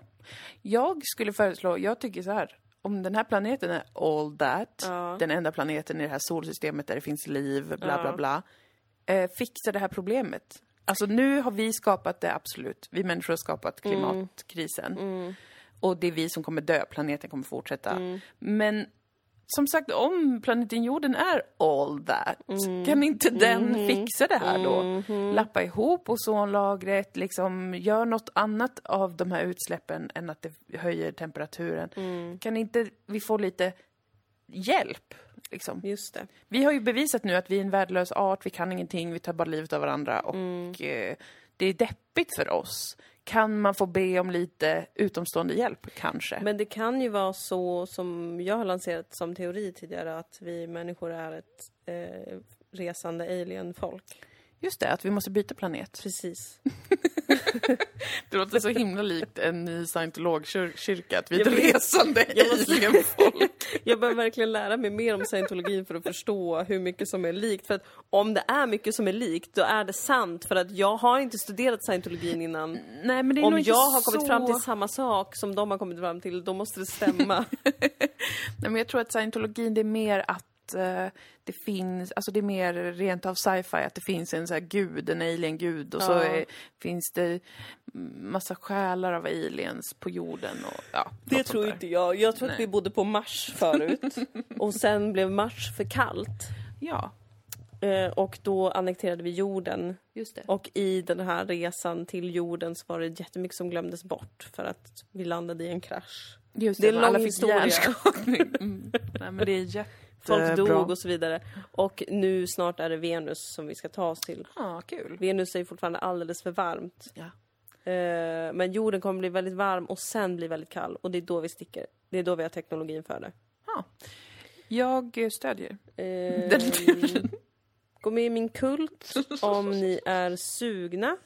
Jag skulle föreslå, jag tycker så här. Om den här planeten är all that, Ja. den enda planeten i det här solsystemet där det finns liv, bla bla Ja. bla. Eh, fixa det här problemet. Alltså nu har vi skapat det, absolut. Vi människor har skapat klimatkrisen. Och det är vi som kommer dö, planeten kommer fortsätta. Men som sagt, om planeten jorden är all that, kan inte den fixa det här då? Lappa ihop ozonlagret, liksom, gör något annat av de här utsläppen än att det höjer temperaturen. Kan inte vi få lite hjälp? Liksom? Just det. Vi har ju bevisat nu att vi är en värdelös art, vi kan ingenting, vi tar bara livet av varandra och eh, det är deppigt för oss. Kan man få be om lite utomstående hjälp, kanske? Men det kan ju vara så som jag har lanserat som teori tidigare att vi människor är ett eh, resande alienfolk. Just det, att vi måste byta planet. Precis. Det låter så himla likt en ny scientologkyrka, att vi är Jag ett vet. resande Jag måste- alienfolk. Jag behöver verkligen lära mig mer om scientologin för att förstå hur mycket som är likt. För att om det är mycket som är likt, då är det sant. För att jag har inte studerat scientologin innan. Nej, men det är Om nog inte jag har kommit så... fram till samma sak som de har kommit fram till, då måste det stämma. Nej, men jag tror att scientologin, det är mer att eh, det finns, alltså det är mer rent av sci-fi, att det finns en så här gud, en alien-gud och så Ja. är, finns det massa själar av aliens på jorden och ja. Det något sånt tror där. inte jag. Jag tror att vi bodde på Mars förut och sen blev Mars för kallt Ja, eh, och då annekterade vi jorden. just det. Och i den här resan till jorden så var det jättemycket som glömdes bort för att vi landade i en krasch. Just det är för en lång alla fick historia. hjärnskakning. Mm. Nej, men det är jätte... Folk Eh, dog bra. och så vidare. Och nu snart är det Venus som vi ska ta oss till. Ja, kul. Venus är ju fortfarande alldeles för varmt. Ja. Eh, Men jorden kommer bli väldigt varm och sen bli väldigt kall och det är då vi sticker. Det är då vi har teknologin för det. Ja. Jag eh, stödjer Eh, den teorin. Gå med i min kult om ni är sugna.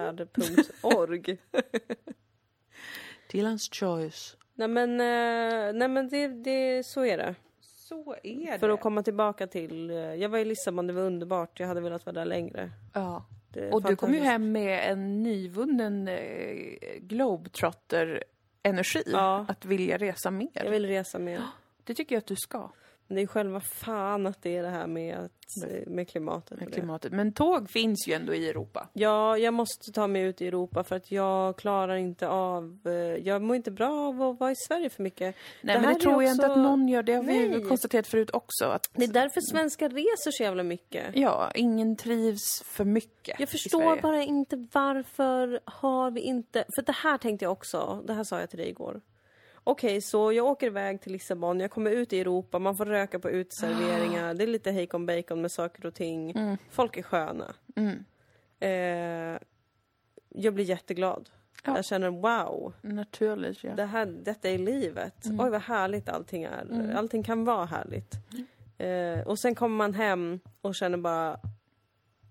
www.dilansvärld.org Dylan's choice. Nej men, eh, nej, men det, det, så är det. Så är det. För att komma tillbaka till... eh, Jag var i Lissabon, det var underbart. Jag hade velat vara där längre. Ja. Det är Och du kom ju Eh, fantastiskt. hem med en nyvunnen eh, globetrotter-energi. Ja. Att vilja resa mer. Jag vill resa mer. Det tycker jag att du ska. Men det är själva fan att det är det här med, att, eh, med klimatet. och Med det. klimatet. Men tåg finns ju ändå i Europa. Ja, jag måste ta mig ut i Europa för att jag klarar inte av... eh, Jag mår inte bra av att vara i Sverige för mycket. Nej, Det men här det är tror jag inte också- att någon gör. Det har vi ju Nej. konstaterat förut också. Att, Det är därför svenskar reser så jävla mycket. ja, ingen trivs för mycket Jag i förstår Sverige. bara inte varför har vi inte... För det här tänkte jag också, det här sa jag till dig igår. Okej, så jag åker iväg till Lissabon, jag kommer ut i Europa, man får röka på uteserveringar, det är lite hejkon bacon med saker och ting. Mm, Folk är sköna. Eh, jag blir jätteglad. Ja. Jag känner wow, Naturligt, ja. Mm. det här, detta är livet. Oj vad härligt allting är. Allting kan vara härligt. Mm. Eh, och sen kommer man hem och känner bara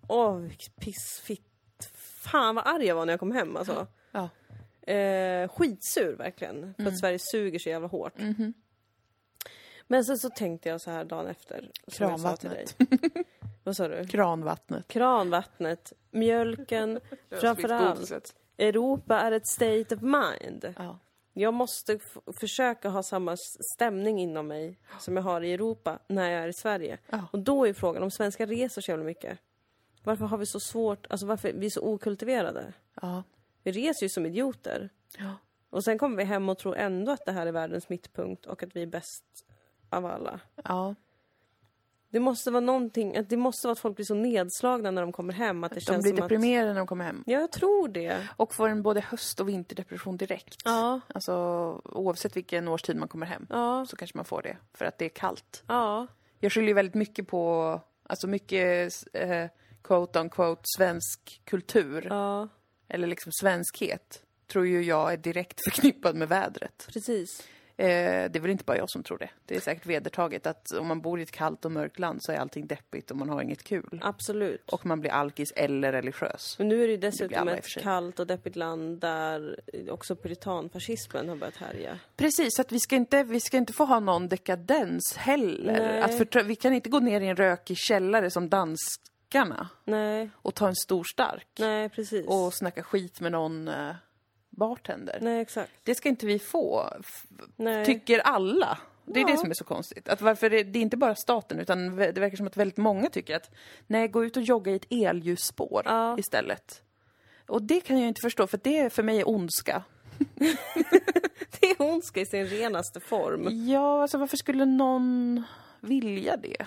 Åh, vilket pissfitt. Fan vad arg jag var när jag kom hem alltså. ja. Mm. Eh, skitsur verkligen. För att Sverige suger så jävla hårt. Men sen så tänkte jag så här dagen efter. som jag sa till dig. Vad sa du? Kranvattnet. Kranvattnet, mjölken, framförallt. Europa är ett state of mind. Ja. Jag måste f- försöka ha samma s- stämning inom mig som jag har i Europa när jag är i Sverige. Ja. Och då är frågan, om svenskar reser så jävla mycket, varför har vi så svårt, alltså varför vi är så okultiverade? Ja. Vi reser ju som idioter. Ja. Och sen kommer vi hem och tror ändå att det här är världens mittpunkt och att vi är bäst av alla. ja. Det måste vara någonting, att det måste vara att folk blir så nedslagna när de kommer hem att det De känns blir som att... deprimerade när de kommer hem. Ja, jag tror det. Och får en både höst och vinterdepression direkt. Ja. Alltså oavsett vilken årstid man kommer hem Ja. så kanske man får det för att det är kallt. Ja. Jag skyller ju väldigt mycket på, alltså mycket eh, quote on quote svensk kultur Ja. eller liksom svenskhet tror ju jag är direkt förknippad med vädret. Precis. Eh, det är väl inte bara jag som tror det. Det är säkert vedertaget att om man bor i ett kallt och mörkt land så är allting deppigt och man har inget kul. Absolut. Och man blir alkis eller religiös. Men nu är det ju blir dessutom alla i och ett för sig. kallt och deppigt land där också puritanfascismen har börjat härja. Precis, att vi ska inte, vi ska inte få ha någon dekadens heller. Nej. Att förtrö- vi kan inte gå ner i en rökig källare som danskarna Nej, och ta en stor stark nej precis. och snacka skit med någon eh, bartender. Nej, exakt. Det ska inte vi få, f- Nej. tycker alla. Det är Ja. det som är så konstigt. Att varför det, det är inte bara staten, utan vä- det verkar som att väldigt många tycker att nej, gå ut och jogga i ett elljusspår Ja. istället. Och det kan jag inte förstå, för det för mig är ondska. Det är ondska i sin renaste form. Ja, alltså varför skulle någon vilja det?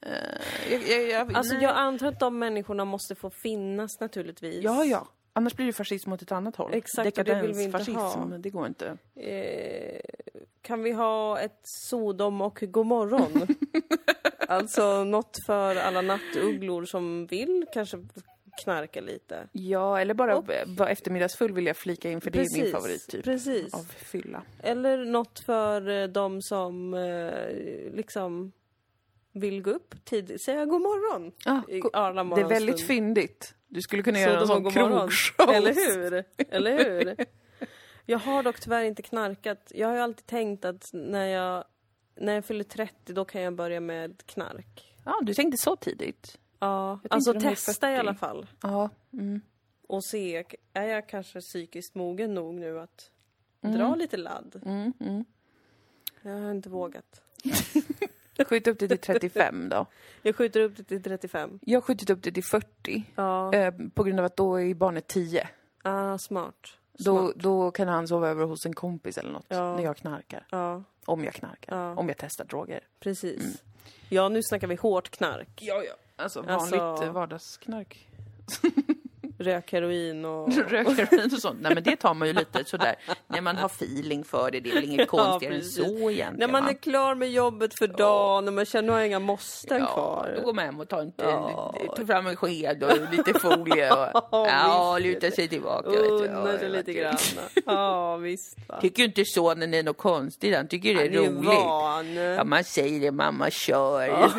Eh, jag, jag, jag, Alltså nej. jag antar att de människorna måste få finnas naturligtvis. ja, ja. Annars blir det fascism åt ett annat håll. Exakt, och det vill vi inte Dekadensfascism, ha. det går inte. Eh, kan vi ha ett Sodom och Gomorron? alltså något för alla nattugglor som vill kanske knarka lite. Ja, eller bara vara eftermiddagsfull vill jag flika in, för det är min Precis, favorittyp precis. av fylla. Eller något för eh, de som eh, liksom vill gå upp tid, säga god morgon Ah, i go- arla det är väldigt morgonstund. fyndigt. Du skulle kunna Så göra en de har sån god morgon. krogshow. Eller hur? Eller hur? Jag har dock tyvärr inte knarkat. Jag har ju alltid tänkt att när jag, när jag fyller 30 då kan jag börja med knark. Ja, du tänkte så tidigt. Ja, tänkte alltså de är testa i 40. alla fall Ja, mm. och se, är jag kanske psykiskt mogen nog nu att dra lite ladd? Mm, mm. Jag har inte vågat. Skjut upp det till 35 då. Jag skjuter upp det till 35. Jag har skjutit upp det till 40 Ja, eh, på grund av att då är barnet 10. ah, smart. Då, Smart. då kan han sova över hos en kompis eller något Ja. när jag knarkar. Ja, Om jag knarkar. Ja. Om jag testar droger. precis. Ja, nu snackar vi hårt knark. Mm. Ja, ja. Alltså vanligt Alltså- eh, vardagsknark. Rök, heroin och... Rökheroin och sånt. Nej men det tar man ju lite sådär när man har feeling för det. Det är väl inget konstigare än precis. så egentligen. När man va? är klar med jobbet för dagen och man känner att jag inga måsten då kvar. går man hem och tar, en, Ja. tar fram en sked och lite folie och ja, lutar sig tillbaka. vet du. Ja, Unnar det sig var lite kul. grann. Ja, visst va. Tycker ju inte sonen är något konstigt, han tycker det är Han roligt. är Ja, van. man säger det, mamma kör.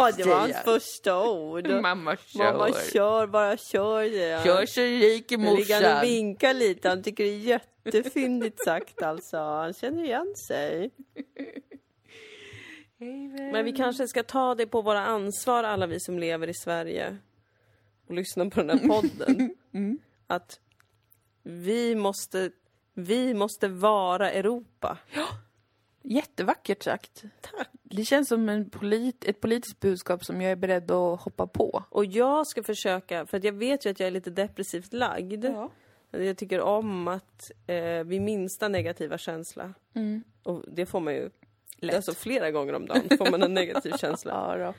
Ja, det var hans Stian. första ord. Mamma kör. Mamma kör, bara kör säger han. Kör så rik i Nu ligger han och morsan. vinkar lite. Han tycker det är jättefyndigt sagt alltså. Han känner igen sig. Men vi kanske ska ta det på våra ansvar alla vi som lever i Sverige och lyssnar på den här podden. Att vi måste, vi måste vara Europa. Jättevackert sagt. Det känns som en polit, ett politiskt budskap som jag är beredd att hoppa på. Och jag ska försöka, för att jag vet ju att jag är lite depressivt lagd. Jag tycker om att eh, vid minsta negativa känsla, Mm. och det får man ju Alltså flera gånger om dagen får man en negativ känsla. Ja, då.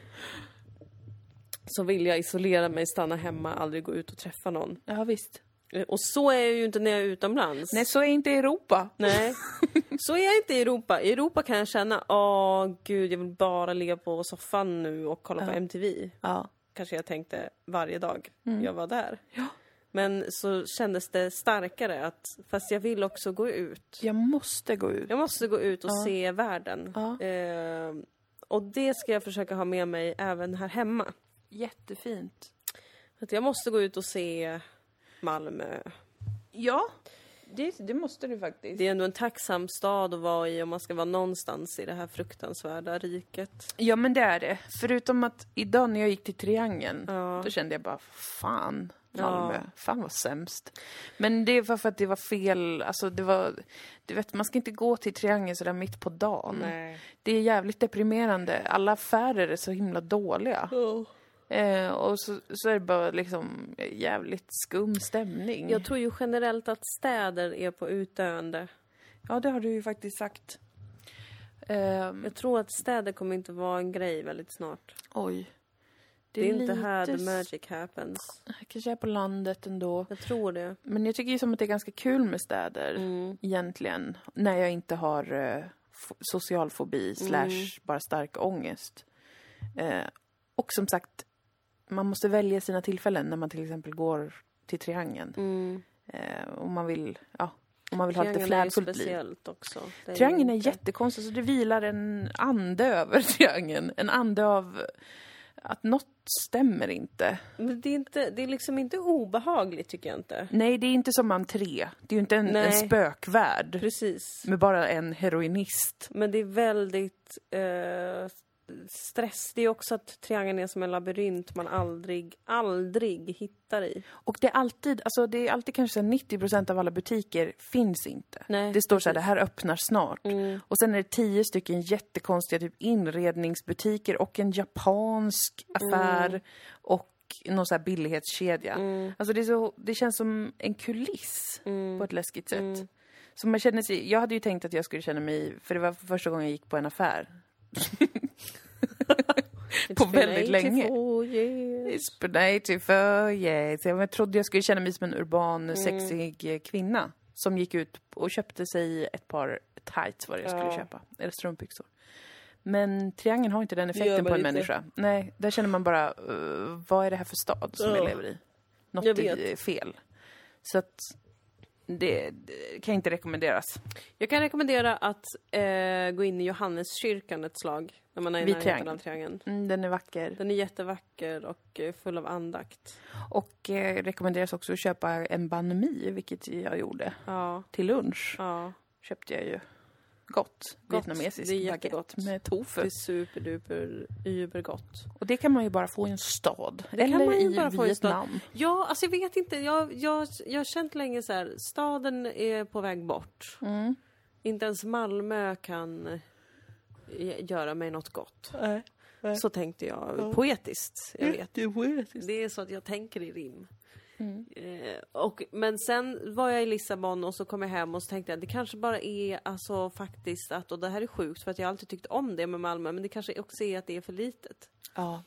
Så vill jag isolera mig, stanna hemma, aldrig gå ut och träffa någon. ja visst. Eh, Och så är jag ju inte när jag är utomlands. Nej, så är inte Europa. Nej, så är jag inte i Europa. I Europa kan jag känna, åh gud, jag vill bara ligga på soffan nu och kolla på MTV. Ja. Kanske jag tänkte varje dag jag var där. Men så kändes det starkare att, fast jag vill också gå ut. Jag måste gå ut. Jag måste gå ut och se världen. Ja. Eh, och det ska jag försöka ha med mig även här hemma. Jättefint. Att jag måste gå ut och se Malmö. Ja, det, det måste du faktiskt. Det är ändå en tacksam stad att vara i om man ska vara någonstans i det här fruktansvärda riket. Ja, men det är det. Förutom att idag när jag gick till Triangeln, då kände jag bara fan. Malmö. Fan vad sämst. Men det var för att det var fel, alltså det var, du vet man ska inte gå till Triangeln sådär mitt på dagen. Det är jävligt deprimerande. Alla affärer är så himla dåliga. Eh, och så, så är det bara liksom jävligt skum stämning. Jag tror ju generellt att städer är på utdöende. Ja, det har du ju faktiskt sagt. Ehm, Jag tror att städer kommer inte vara en grej väldigt snart. oj. Det är, inte här the lite magic happens. Kanske är på landet ändå. Jag tror det. Men jag tycker ju som att det är ganska kul med städer Mm. egentligen. När jag inte har eh, f- social fobi Mm. slash bara stark ångest. Eh, och som sagt, man måste välja sina tillfällen när man till exempel går till Triangeln. Eh, om man vill, ja, Om man vill ha lite Mm. Triangeln är ju flärdfullt liv. speciellt också. Det ju Triangeln är inte- jättekonstig, så det vilar en ande över triangeln. En ande av att något stämmer inte. Men det, är inte, det är liksom inte obehagligt tycker jag inte. Nej, det är inte som entré. Det är ju inte en, en Nej. spökvärld Precis. med bara en heroinist. Men det är väldigt eh, stress. Det är också att triangeln är som en labyrint man aldrig, aldrig hittar i. Och det är alltid, alltså det är alltid kanske så här 90 av alla butiker finns inte. Nej, Mm. det står så här, det här öppnar snart. Och sen är det tio stycken jättekonstiga typ inredningsbutiker och en japansk affär och någon så här billighetskedja. Mm. Alltså det, är så, det känns som en kuliss Mm. på ett läskigt sätt. Så man känner sig, jag hade ju tänkt att jag skulle känna mig, för det var första gången jag gick på en affär. på It's been väldigt länge. 84 years. It's been 84 years. Jag trodde jag skulle känna mig som en urban, sexig eh, kvinna som gick ut och köpte sig ett par tights, vad det jag skulle köpa, eller strumpbyxor. Men triangeln har inte den effekten man på en inte. människa. Nej, där känner man bara, eh, vad är det här för stad som jag Ja. lever i? Något Jag är fel. Så att det, det kan inte rekommenderas. Jag kan rekommendera att eh, gå in i Johanneskyrkan ett slag när man är i Vid närheten triangeln. av triangeln. Mm, den är vacker. Den är jättevacker och eh, full av andakt. Och eh, rekommenderas också att köpa en banh mi, vilket jag gjorde, Ja, till lunch. ja. köpte jag ju gott, vietnamesisk Det är baguette jättegott. med tofu. Det är superduper, übergott. Och det kan man ju bara få i en stad. Det Eller kan man ju i bara få i en stad. Vietnam. Ja, alltså jag vet inte. Jag, jag, jag har känt länge så här, staden är på väg bort. Inte ens Malmö kan eh, göra mig något gott. Så tänkte jag. Poetiskt, jag vet. Det är så att jag tänker i rim. Mm. Eh, och, men sen var jag i Lissabon och så kom jag hem och så tänkte jag det kanske bara är alltså faktiskt att, och det här är sjukt för att jag alltid tyckt om det med Malmö, men det kanske också är att det är för litet. Ja.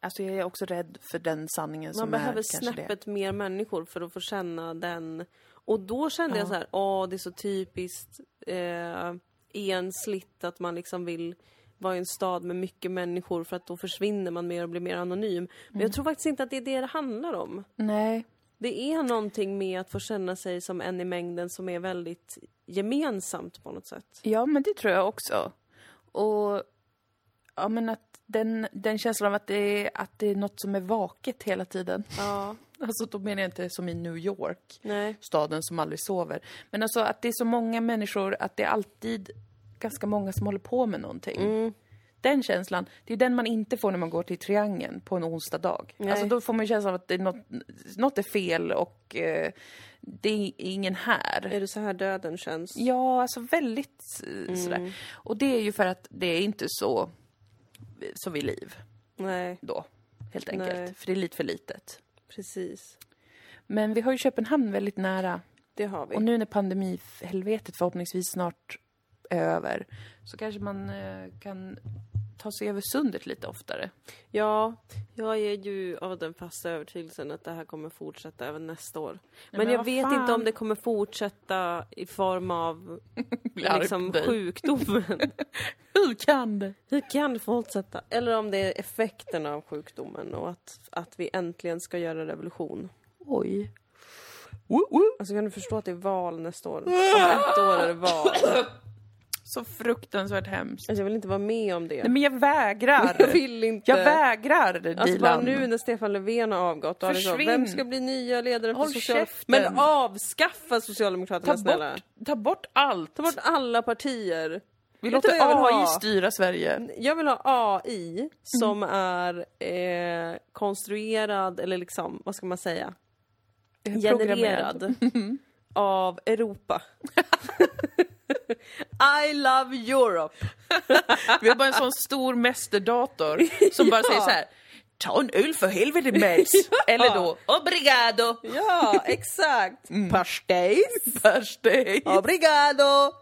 Alltså jag är också rädd för den sanningen Man som är behöver kanske det. snäppet mer människor för att få känna den. Och då kände jag så här, åh det är så typiskt eh, ensligt att man liksom vill vara i en stad med mycket människor för att då försvinner man mer och blir mer anonym. Men Mm. jag tror faktiskt inte att det är det det handlar om. Nej. Det är någonting med att få känna sig som en i mängden som är väldigt gemensamt på något sätt. Ja, men det tror jag också. Och ja, men att den, den känslan av att det, är, att det är något som är vaket hela tiden. Ja, Alltså då menar jag inte som i New York. nej. staden som aldrig sover. Men alltså att det är så många människor, att det är alltid ganska många som håller på med någonting. Mm. Den känslan, det är den man inte får när man går till Triangeln på en onsdag dag. Alltså då får man ju känslan av att det är något, något är fel och eh, det är ingen här. Är det så här döden känns? Ja, alltså väldigt eh, Mm. sådär. Och det är ju för att det är inte så, så vid liv Nej, då, helt enkelt. Nej. För det är lite för litet. precis. Men vi har ju Köpenhamn väldigt nära. Det har vi. Och nu när pandemihelvetet förhoppningsvis snart är över så kanske man eh, kan ta sig över sundet lite oftare. Ja, jag är ju av den fasta övertygelsen att det här kommer fortsätta även nästa år. Men, men jag vad vet fan. inte om det kommer fortsätta i form av liksom, Larp dig. sjukdomen. Hur kan det? Hur kan det fortsätta? Eller om det är effekten av sjukdomen och att, att vi äntligen ska göra revolution. Oj. Woo, woo. Alltså kan du förstå att det är val nästa år? Om ett år är det val. Alltså, Så fruktansvärt hemskt. jag vill inte vara med om det. Nej men jag vägrar! Jag vill inte. Jag vägrar Dilan! Alltså bara nu när Stefan Löfven har avgått, då är det så, Försvinn. vem ska bli nya ledare för Håll social... käften. Men avskaffa ta, Socialdemokraterna snälla! bort, ta bort allt! Ta bort alla partier. vi Vet du låter vad jag vill AI ha? styra Sverige. Jag vill ha AI som är eh, konstruerad, eller liksom, vad ska man säga? Genererad av Europa. I love Europe! Vi har bara en sån stor mästerdator som bara säger så här. Ta en öl för helvete Mats! Eller då, obrigado! Ja, exakt! Pastejs! Pastej! Obrigado!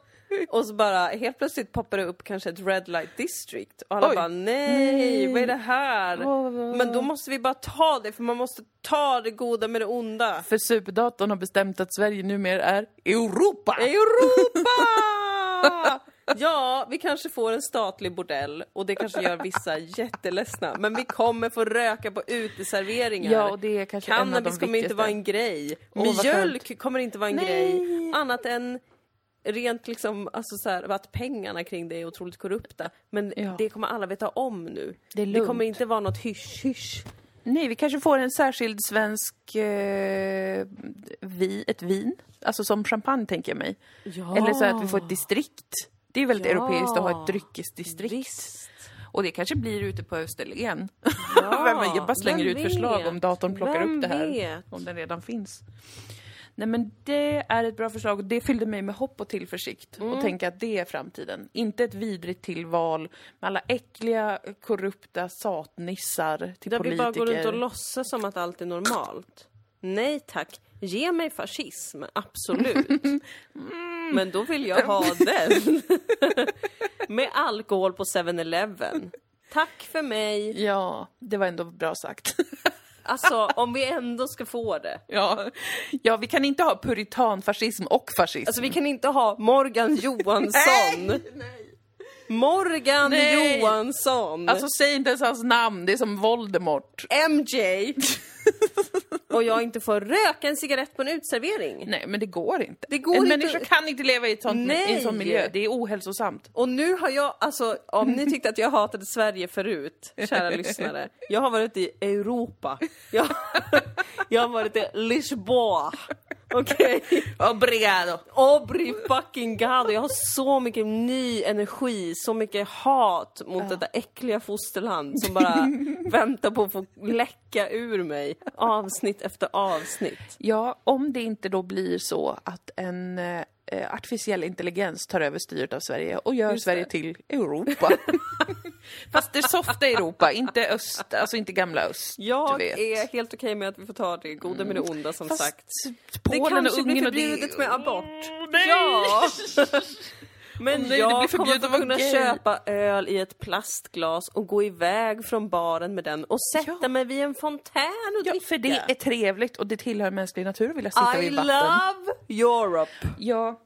Och så bara helt plötsligt poppar det upp kanske ett red light district och alla Oj. bara nej, Nej. vad är det här? Vad- vad- Men då måste vi bara ta det för man måste ta det goda med det onda. För superdatorn har bestämt att Sverige numera är Europa! Europa! Ja, vi kanske får en statlig bordell och det kanske gör vissa jätteledsna. Men vi kommer få röka på uteserveringar. Ja, och det är kanske en av de Cannabis kommer inte viktigaste. vara en grej. vad skönt. Mjölk kommer inte vara en Nej. grej. Annat än rent liksom, alltså så här, att pengarna kring det är otroligt korrupta. Men Ja. det kommer alla veta om nu. Det är kommer lugnt. inte vara något hysch-hysch. Nej, vi kanske får en särskild svensk... Eh, vi, ett vin. Alltså som champagne, tänker jag mig. Ja. Eller så att vi får ett distrikt. Det är väldigt Ah. Ja. europeiskt att ha ett dryckesdistrikt. Visst. Och det kanske blir ute på Österlen. Ja, Vem- jag bara slänger vem ut förslag vet? om datorn plockar Vem upp det här. vet? Om den redan finns. Nej men det är ett bra förslag och det fyllde mig med hopp och tillförsikt. Mm. Och tänka att det är framtiden. Inte ett vidrigt tillval med alla äckliga, korrupta satnissar till Där vi politiker. bara går runt och låtsas som att allt är normalt. Nej tack, ge mig fascism, absolut. Mm. Men då vill jag ha den. Med alkohol på 7-Eleven. Tack för mig. Ja, det var ändå bra sagt. Alltså, om vi ändå ska få det. ja. ja, vi kan inte ha puritanfascism och fascism. Alltså vi kan inte ha Morgan Johansson. Morgan Nej. Johansson. Alltså säg inte ens hans namn, det är som Voldemort. MJ. Och jag inte får röka en cigarett på en utservering. Nej, men det går inte. Det går en inte. människa kan inte leva i, ett sånt, i en sån Nej. miljö. Det är ohälsosamt. Och nu har jag, alltså om ni tyckte att jag hatade Sverige förut, kära lyssnare. Jag har varit i Europa. Jag, jag har varit i Lisboa. Okej? Obrigado. Obri fucking gado. Jag har så mycket ny energi, så mycket hat mot detta äckliga fosterland som bara väntar på att få läcka ur mig avsnitt efter avsnitt. Ja, om det inte då blir så att en eh, eh, artificiell intelligens tar över styret av Sverige och gör Sverige till Europa. Fast det softa Europa, inte öst, alltså inte gamla öst. Jag du vet. är helt okej med att vi får ta det goda med det onda som Fast sagt. Det Polen och kanske blir Ungern och förbjudet det... med abort. nej! Ja! Men Åh nej, det blir jag kommer förbjudet att få vara kunna gay. köpa öl i ett plastglas och gå iväg från baren med den och sätta Ja. mig vid en fontän och Ja, dricka. för det är trevligt och det tillhör mänsklig natur att vilja sitta I vid vatten. love Europe! Ja,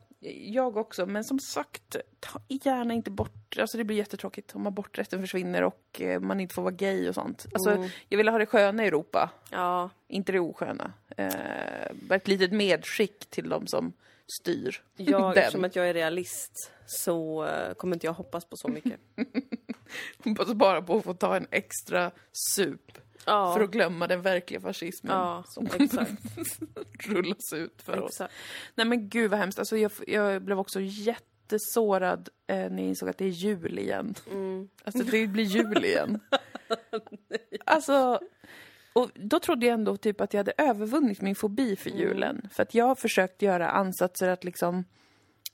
jag också. Men som sagt, ta gärna inte bort... Alltså det blir jättetråkigt om aborträtten försvinner och eh, man inte får vara gay och sånt. Alltså, Mm. jag vill ha det sköna i Europa, Ja, inte det osköna. Eh, bara ett litet medskick till de som styr. jag, eftersom den. att jag är realist så eh, kommer inte jag hoppas på så mycket. Hoppas bara på att få ta en extra sup Ja. för att glömma den verkliga fascismen Ja, som exakt. rullas ut för oss. Exakt. Nej men gud vad hemskt. Alltså, jag, jag blev också jättesårad eh, när jag insåg att det är jul igen. Alltså det blir jul igen. alltså, och då trodde jag ändå typ att jag hade övervunnit min fobi för Mm. julen. För att jag har försökt göra ansatser att liksom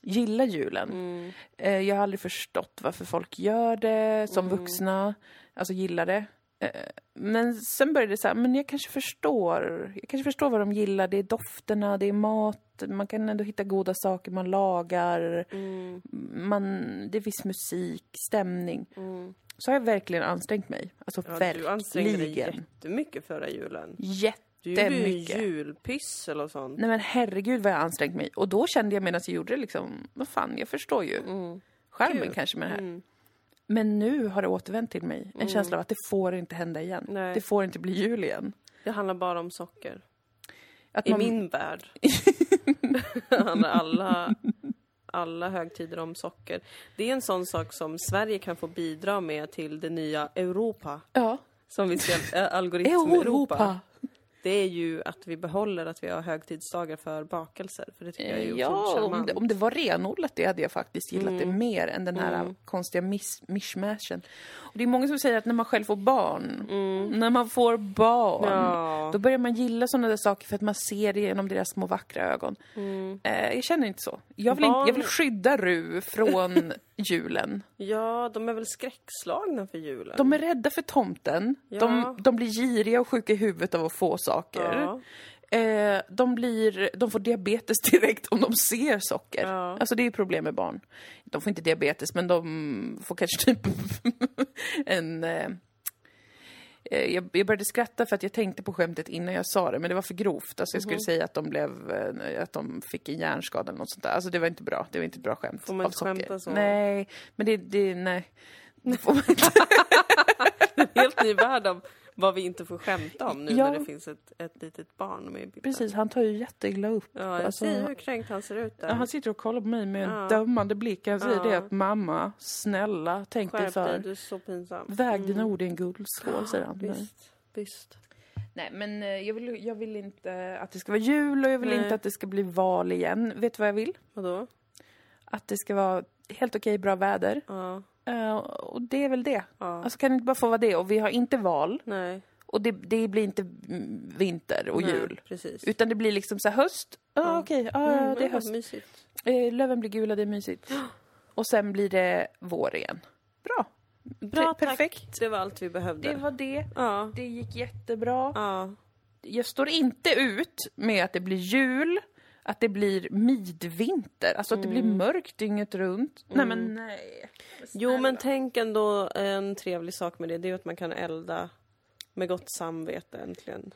gilla julen. Mm. Eh, jag har aldrig förstått varför folk gör det som Mm. vuxna, alltså gillar det. Eh, men sen började det så här, men jag kanske förstår. Jag kanske förstår vad de gillar. Det är dofterna, det är mat, man kan ändå hitta goda saker man lagar. Mm. Man, det är viss musik, stämning. Så har jag verkligen ansträngt mig. Alltså Mm. Ja, du ansträngde dig verkligen. jättemycket förra julen. Du gjorde ju Jättemycket. julpyssel och sånt. Nej men herregud vad jag ansträngt mig. Och då kände jag medan jag gjorde det liksom, vad fan, jag förstår ju. Mm. Skärmen kanske med det här. Men nu har det återvänt till mig. En känsla av att det får inte hända igen. Mm. Nej. Det får inte bli jul igen. Det handlar bara om socker. Att I man- min värld handlar alla, alla högtider om socker. Det är en sån sak som Sverige kan få bidra med till det nya Europa. Ja. Som vi ska, äh, algoritm Europa. Europa. Det är ju att vi behåller att vi har högtidsdagar för bakelser. För det tycker jag är otroligt Eh, Ja, om charmant. det, om det var renodlat det hade jag faktiskt gillat Mm. det mer än den här konstiga miss, mishmashen. Och det är många som säger att när man själv får barn, när man får barn, Mm. Ja. då börjar man gilla sådana där saker för att man ser det genom deras små vackra ögon. Eh, jag känner inte så. Jag vill, inte, jag vill Mm. Barn- skydda Ru från julen. Ja, de är väl skräckslagna för julen. De är rädda för tomten. Ja. De, de blir giriga och sjuka i huvudet av att få saker. Eh, de, blir, de får diabetes direkt om de ser socker. Ja. Alltså det är ju problem med barn. De får inte diabetes men de får kanske typ en... Eh, eh, jag, jag började skratta för att jag tänkte på skämtet innan jag sa det, men det var för grovt. Alltså jag Mhm. skulle säga att de, blev, eh, att de fick en hjärnskada eller något sånt där. Alltså det var inte bra. Det var inte ett bra skämt. Får man av inte skämta socker. så? Nej, men det, det nej. Det får man Helt ny värld av vad vi inte får skämta om nu Ja. när det finns ett, ett litet barn med i bilden. Precis, han tar ju jätteilla upp. Ja, jag Alltså, ser ju hur kränkt han ser ut där. ja, han sitter och kollar på mig med en dömande blick. Han säger det att mamma, snälla, tänk dig Skärp dig, Mm. för. du är så pinsam. Väg dina ord i en guldskål, säger han. till mig. Visst, visst. Nej, men eh, jag vill, jag vill inte att det ska vara jul och jag vill inte att det ska bli val igen. Vet du vad jag vill? Vadå? Att det ska vara helt okej bra väder. Ja, Eh, och det är väl det. Alltså kan det inte bara få vara det? Och vi har inte val. nej. Och det, det blir inte mm, vinter och nej, jul. Precis. Utan det blir liksom så här höst. Ja, ah, okej. Ah, ja, det är Mm, höst. Mysigt. Eh, löven blir gula, det är mysigt. Och sen blir det vår igen. Bra. Bra, Pre- tack. Perfekt. Det var allt vi behövde. Det var det. Ja, Det gick jättebra. ja. Jag står inte ut med att det blir jul, att det blir midvinter, alltså att det blir mörkt dygnet runt. Nej men Mm. nej. Jo, men tänk ändå en trevlig sak med det. Det är ju att man kan elda med gott samvete äntligen.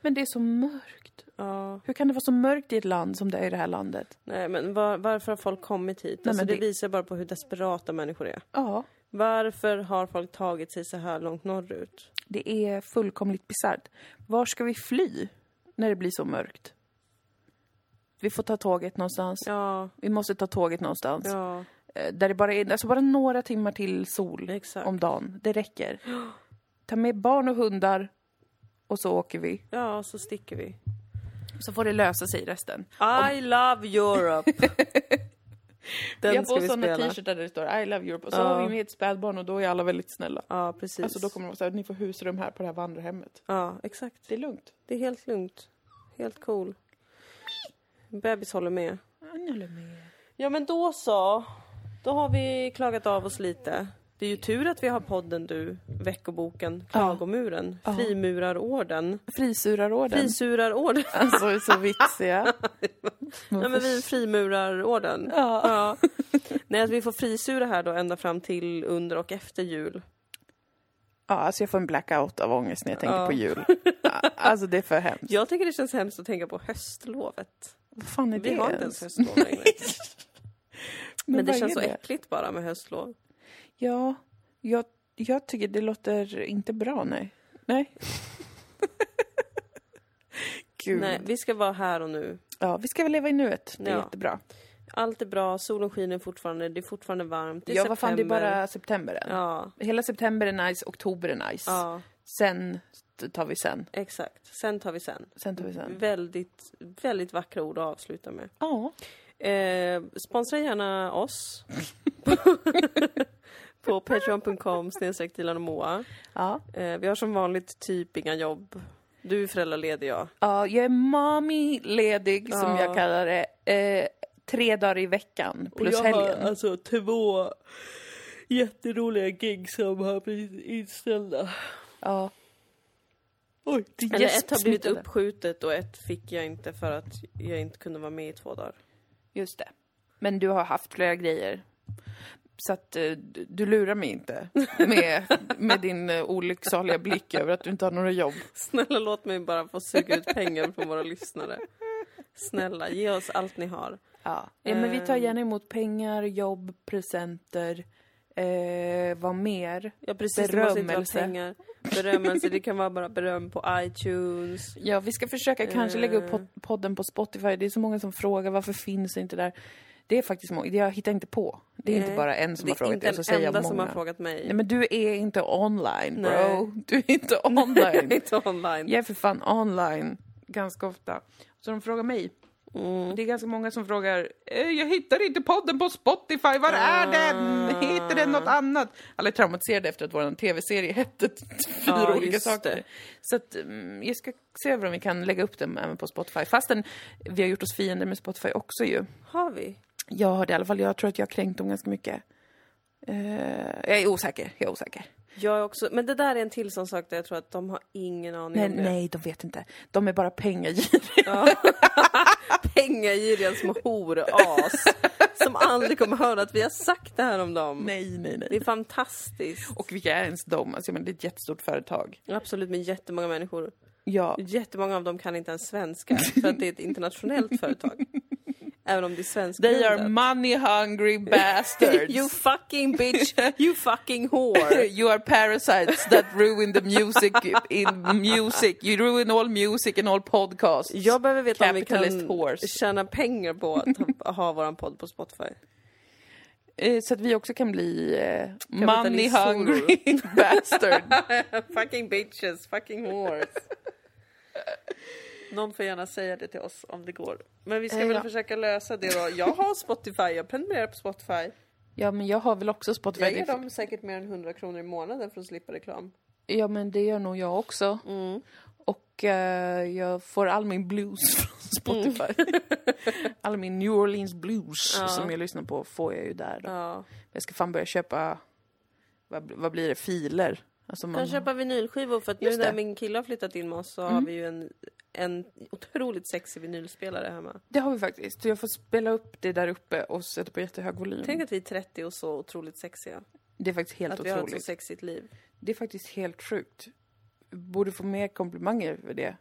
Men det är så mörkt. Ja. Hur kan det vara så mörkt i ett land som det är i det här landet? Nej, men var, varför har folk kommit hit? Alltså, men det... det- visar bara på hur desperata människor är. Ja, Varför har folk tagit sig så här långt norrut? det är fullkomligt bisarrt. Var ska vi fly när det blir så mörkt? Vi får ta tåget någonstans. Ja, Vi måste ta tåget någonstans. ja, Eh, Där det bara är alltså bara några timmar till sol Exakt. om dagen. Det räcker. Ta med barn och hundar och så åker vi. ja, så sticker vi. Så får det lösa sig resten. I love Europe! jag Den har ska på vi sådana spela. t-shirtar där det står I love Europe och så har vi med ett spädbarn och då är alla väldigt snälla. Ja, precis. Alltså då kommer de säga ni får husrum här på det här vandrarhemmet. Ja, exakt. Det är lugnt. Det är helt lugnt. Helt cool. Bebis håller med. Jag håller med. Ja men då så. Då har vi klagat av oss lite. Det är ju tur att vi har podden du, veckoboken, klagomuren, frimurarorden, Frisurarorden. frisurarorden. Alltså är så vitsiga. Nej men vi är frimurarorden. Ja. Nej att vi får frisura här då ända fram till under och efter jul. ja, alltså jag får en blackout av ångest när jag tänker på jul. Ja, Alltså det är för hemskt. Jag tycker det känns hemskt att tänka på höstlovet. Vad fan är det Vi har inte ens ens? höstlov längre. Men det vad känns så är äckligt bara med höstlov. Ja, jag, jag tycker det låter inte bra, nej. Nej. Gud. Nej, vi ska vara här och nu. Ja, vi ska väl leva i nuet. Det är Ja. jättebra. Allt är bra, solen skiner fortfarande, det är fortfarande varmt. Det är Ja, vad fan, det är september. bara september än. Ja, Hela september är nice, oktober är nice. ja, Sen tar vi sen. exakt. Sen tar vi sen. Sen tar vi Mm. sen. Väldigt, väldigt vackra ord att avsluta med. Ja. Eh, sponsra gärna oss. på patreon.com snedstreck Dilan och Moa. Ja. Eh, vi har som vanligt typ inga jobb. Du är föräldraledig jag. ja, jag är mommy-ledig, som Ja. jag kallar det. Eh, tre dagar i veckan, plus jag helgen. har alltså två jätteroliga gig som har blivit inställda. Ja. Oj, det Eller ett har blivit gäspsmittade. uppskjutet och ett fick jag inte för att jag inte kunde vara med i två dagar. Just det. Men du har haft flera grejer. Så att eh, du du lurar mig inte med, med din eh, olycksaliga blick över att du inte har några jobb. Snälla låt mig bara få suga ut pengar från våra lyssnare. Snälla, ge oss allt ni har. Ja. men vi tar gärna emot pengar, jobb, presenter, eh, vad mer? Ja precis, det måste inte vara Berömmelse. pengar. Berömmelse, det kan vara bara beröm på iTunes. Ja, vi ska försöka kanske lägga upp pod- podden på Spotify. Det är så många som frångar varför finns det inte där? Det är faktiskt många, jag hittar inte på. Det är inte Nej, bara en som det har är frågat inte det, så säger en enda jag som har många. frågat mig. Nej, men du är inte online, bro. Nej. Du är inte Jag är online. inte online. Jag är för fan online ganska ofta. Så de frågar mig. Mm. Det är ganska många som frågar "Eh, Jag hittar inte podden på Spotify, var är den? Ah. Heter den något annat? Alla är traumatiserade efter att vår tv-serie hette fyra Ja, olika just saker. det. Så att, mm, jag ska se över om vi kan lägga upp den även på Spotify. Fastän vi har gjort oss fiender med Spotify också ju. Har vi? Jag har det i alla fall, jag tror att jag har kränkt dem ganska mycket. Eh, jag är osäker, jag är osäker. Jag är också, men det där är en till sån sak där jag tror att de har ingen aning Nej, om det. nej, de vet inte. De är bara pengagiriga. pengagiriga små horas som aldrig kommer höra att vi har sagt det här om dem. Nej, nej, Det nej. är fantastiskt. Och vilka är ens de? Alltså, men det är ett jättestort företag. Absolut, med jättemånga människor. Ja. Jättemånga av dem kan inte ens svenska för att det är ett internationellt företag. Även om det är They svenskgrundat. are money hungry bastards. You fucking bitch, you fucking whore. You are parasites that ruin the music in music. You ruin all music and all podcasts. Jag behöver veta om vi Capitalist kan horse. tjäna pengar på att ha- ha våran podd på Spotify. Eh, Så att vi också kan bli eh, money Kapitalist hungry bastard. fucking bitches, fucking whores. Någon får gärna säga det till oss om det går. Men vi ska Eh, väl ja. försöka lösa det då. Jag har Spotify, jag prenumererar på Spotify. Ja men jag har väl också Spotify. Jag ger dem säkert mer än 100 kronor i månaden för att slippa reklam. Ja men det gör nog jag också. Och eh, jag får all min blues från Spotify. all min New Orleans blues som jag lyssnar på får jag ju där då. Ja. Jag ska fan börja köpa, vad, vad blir det, filer? Alltså man, kan köpa vinylskivor för att nu Just när det. min kille har flyttat in med oss så har vi ju en, en otroligt sexig vinylspelare hemma. det har vi faktiskt. Jag får spela upp det där uppe och sätta på jättehög volym. Tänk att vi är 30 och så otroligt sexiga. det är faktiskt helt Att vi har ett så otroligt. sexigt liv. Det är faktiskt helt sjukt. Borde få mer komplimanger för det.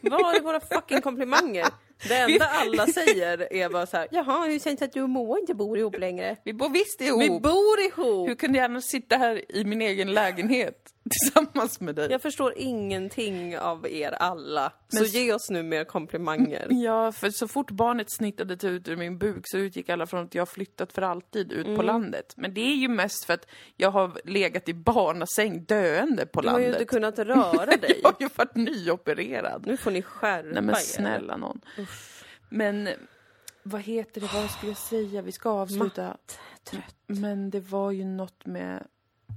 Vad är våra fucking komplimanger? Det enda alla säger är bara så här, jaha hur känns det att du och Moa inte bor ihop längre? Vi bor visst Vi ihop! bor ihop! Hur kunde jag annars sitta här i min egen lägenhet tillsammans med dig? Jag förstår ingenting av er alla. Så Men- Mm, ge oss nu mer komplimanger. Ja, för så fort barnet snittade ut ur min buk så utgick alla från att jag flyttat för alltid ut på landet. Men det är ju mest för att jag har legat i barnasäng döende på Du har ju landet. inte kunnat röra dig. Jag har ju varit nyopererad. Nu får ni skärpa Nej men er. snälla någon. Men vad heter det, vad skulle jag säga? Vi ska avsluta. Trött. Men det var ju något med...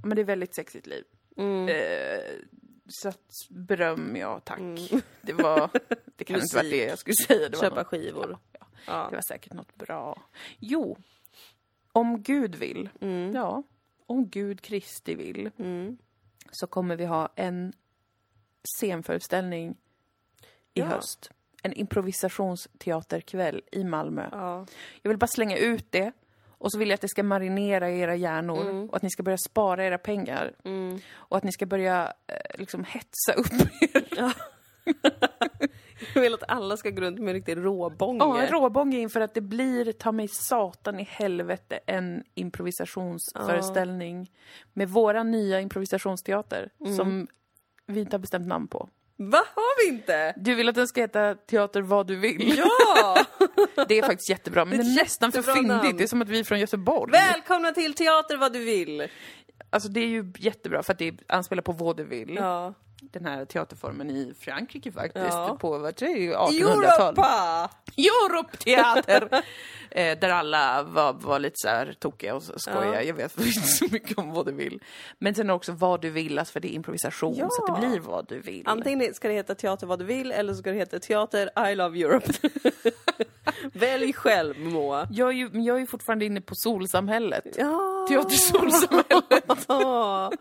Men det är väldigt sexigt liv. Mm. Eh, så att beröm, ja tack. Det var... Det kan inte vara det jag skulle säga. Det var Köpa något, skivor. Ja, Ja. Det var säkert något bra. Jo. Om Gud vill. Mm. Ja. Om Gud Kristi vill. Så kommer vi ha en scenföreställning i Ja. höst. En improvisationsteaterkväll i Malmö. Ja. Jag vill bara slänga ut det. Och så vill jag att det ska marinera i era hjärnor och att ni ska börja spara era pengar. Mm. Och att ni ska börja eh, liksom hetsa upp er. Jag vill att alla ska gå runt med en riktig råbånge. Ja, en råbånge inför att det blir, ta mig satan i helvete, en improvisationsföreställning med våra nya improvisationsteater som vi inte har bestämt namn på. Va, har vi inte? Du vill att den ska heta Teater vad du vill. Ja! Det är faktiskt jättebra, men det är, nästan för jättebra namn. fyndigt. Det är som att vi är från Göteborg. Välkomna till Teater vad du vill! Alltså det är ju jättebra för att det anspelar på vaudeville. Ja. den här teaterformen i Frankrike faktiskt. Ja. På vad tror jag, 1800-tal. Europa! Europe-teater! eh, där alla var, var lite så här tokiga och skojiga. Ja. Jag vet inte så mycket om vad du vill. Men sen också vad du vill, alltså för det är improvisation Ja. så att det blir vad du vill. Antingen ska det heta Teater vad du vill eller så ska det heta Teater I love Europe. Välj själv Moa. Jag är, ju, men jag är ju fortfarande inne på solsamhället. Ja. Teatersolsamhället. ja.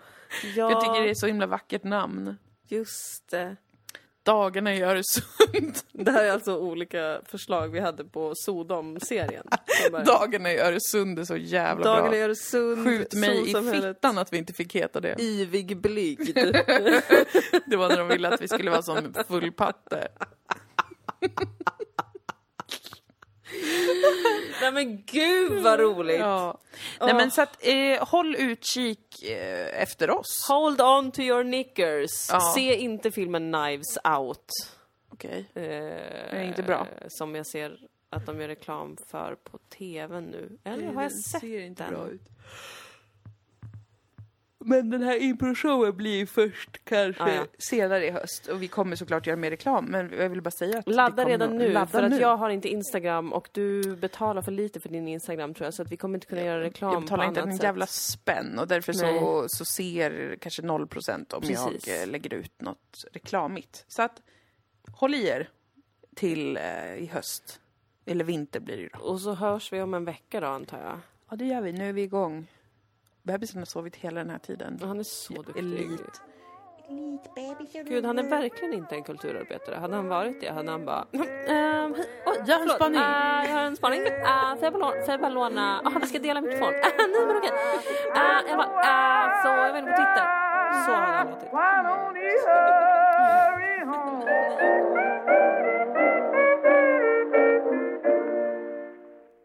Jag tycker det är så himla vackert namn. Just det. Dagarna i Öresund. Det här är alltså olika förslag vi hade på Sodom-serien. Som bara- Dagarna i Öresund är så jävla Dagen i bra. Öresund, Skjut mig i solsamhället, fittan att vi inte fick heta det. Ivig blygd. Det var när de ville att vi skulle vara som fullpatte. Nej men gud vad roligt! Ja. Nej men så att eh, håll utkik eh, efter oss. Hold on to your knickers. Ja. Se inte filmen Knives Out. Okej. Eh, är inte bra. Som jag ser att de gör reklam för på TV nu. Eller har jag sett den? ut. Men den här improshowen blir först kanske Ah, ja. senare i höst och vi kommer såklart göra mer reklam men jag vill bara säga att det Ladda kommer redan nog- nu, ladda för att nu. jag har inte Instagram och du betalar för lite för din Instagram tror jag, så att vi kommer inte kunna göra reklam jag betalar på inte annat en sätt. jävla spänn och därför så, Nej. så ser kanske 0% om Precis. jag eh, lägger ut något reklamigt. Så att håll i er till eh, i höst. Eller vinter blir det ju då. Och så hörs vi om en vecka då antar jag. Ja, det gör vi. Nu är vi igång. Bebisen har sovit hela den här tiden. Han är så duktig. Elit. Gud, han är verkligen inte en kulturarbetare. Hade han varit det hade han bara... Ehm, oj, jag har en Förlåt, spaning. eh, jag har en spaning. Eh, får, jag bara låna, får jag bara låna... Jaha, vi ska dela mikrofon. Uh, nej, men okej. Eh, jag bara, ah, eh, så jag var inne på Twitter. Så hade han låtit. Why don't you hurry home?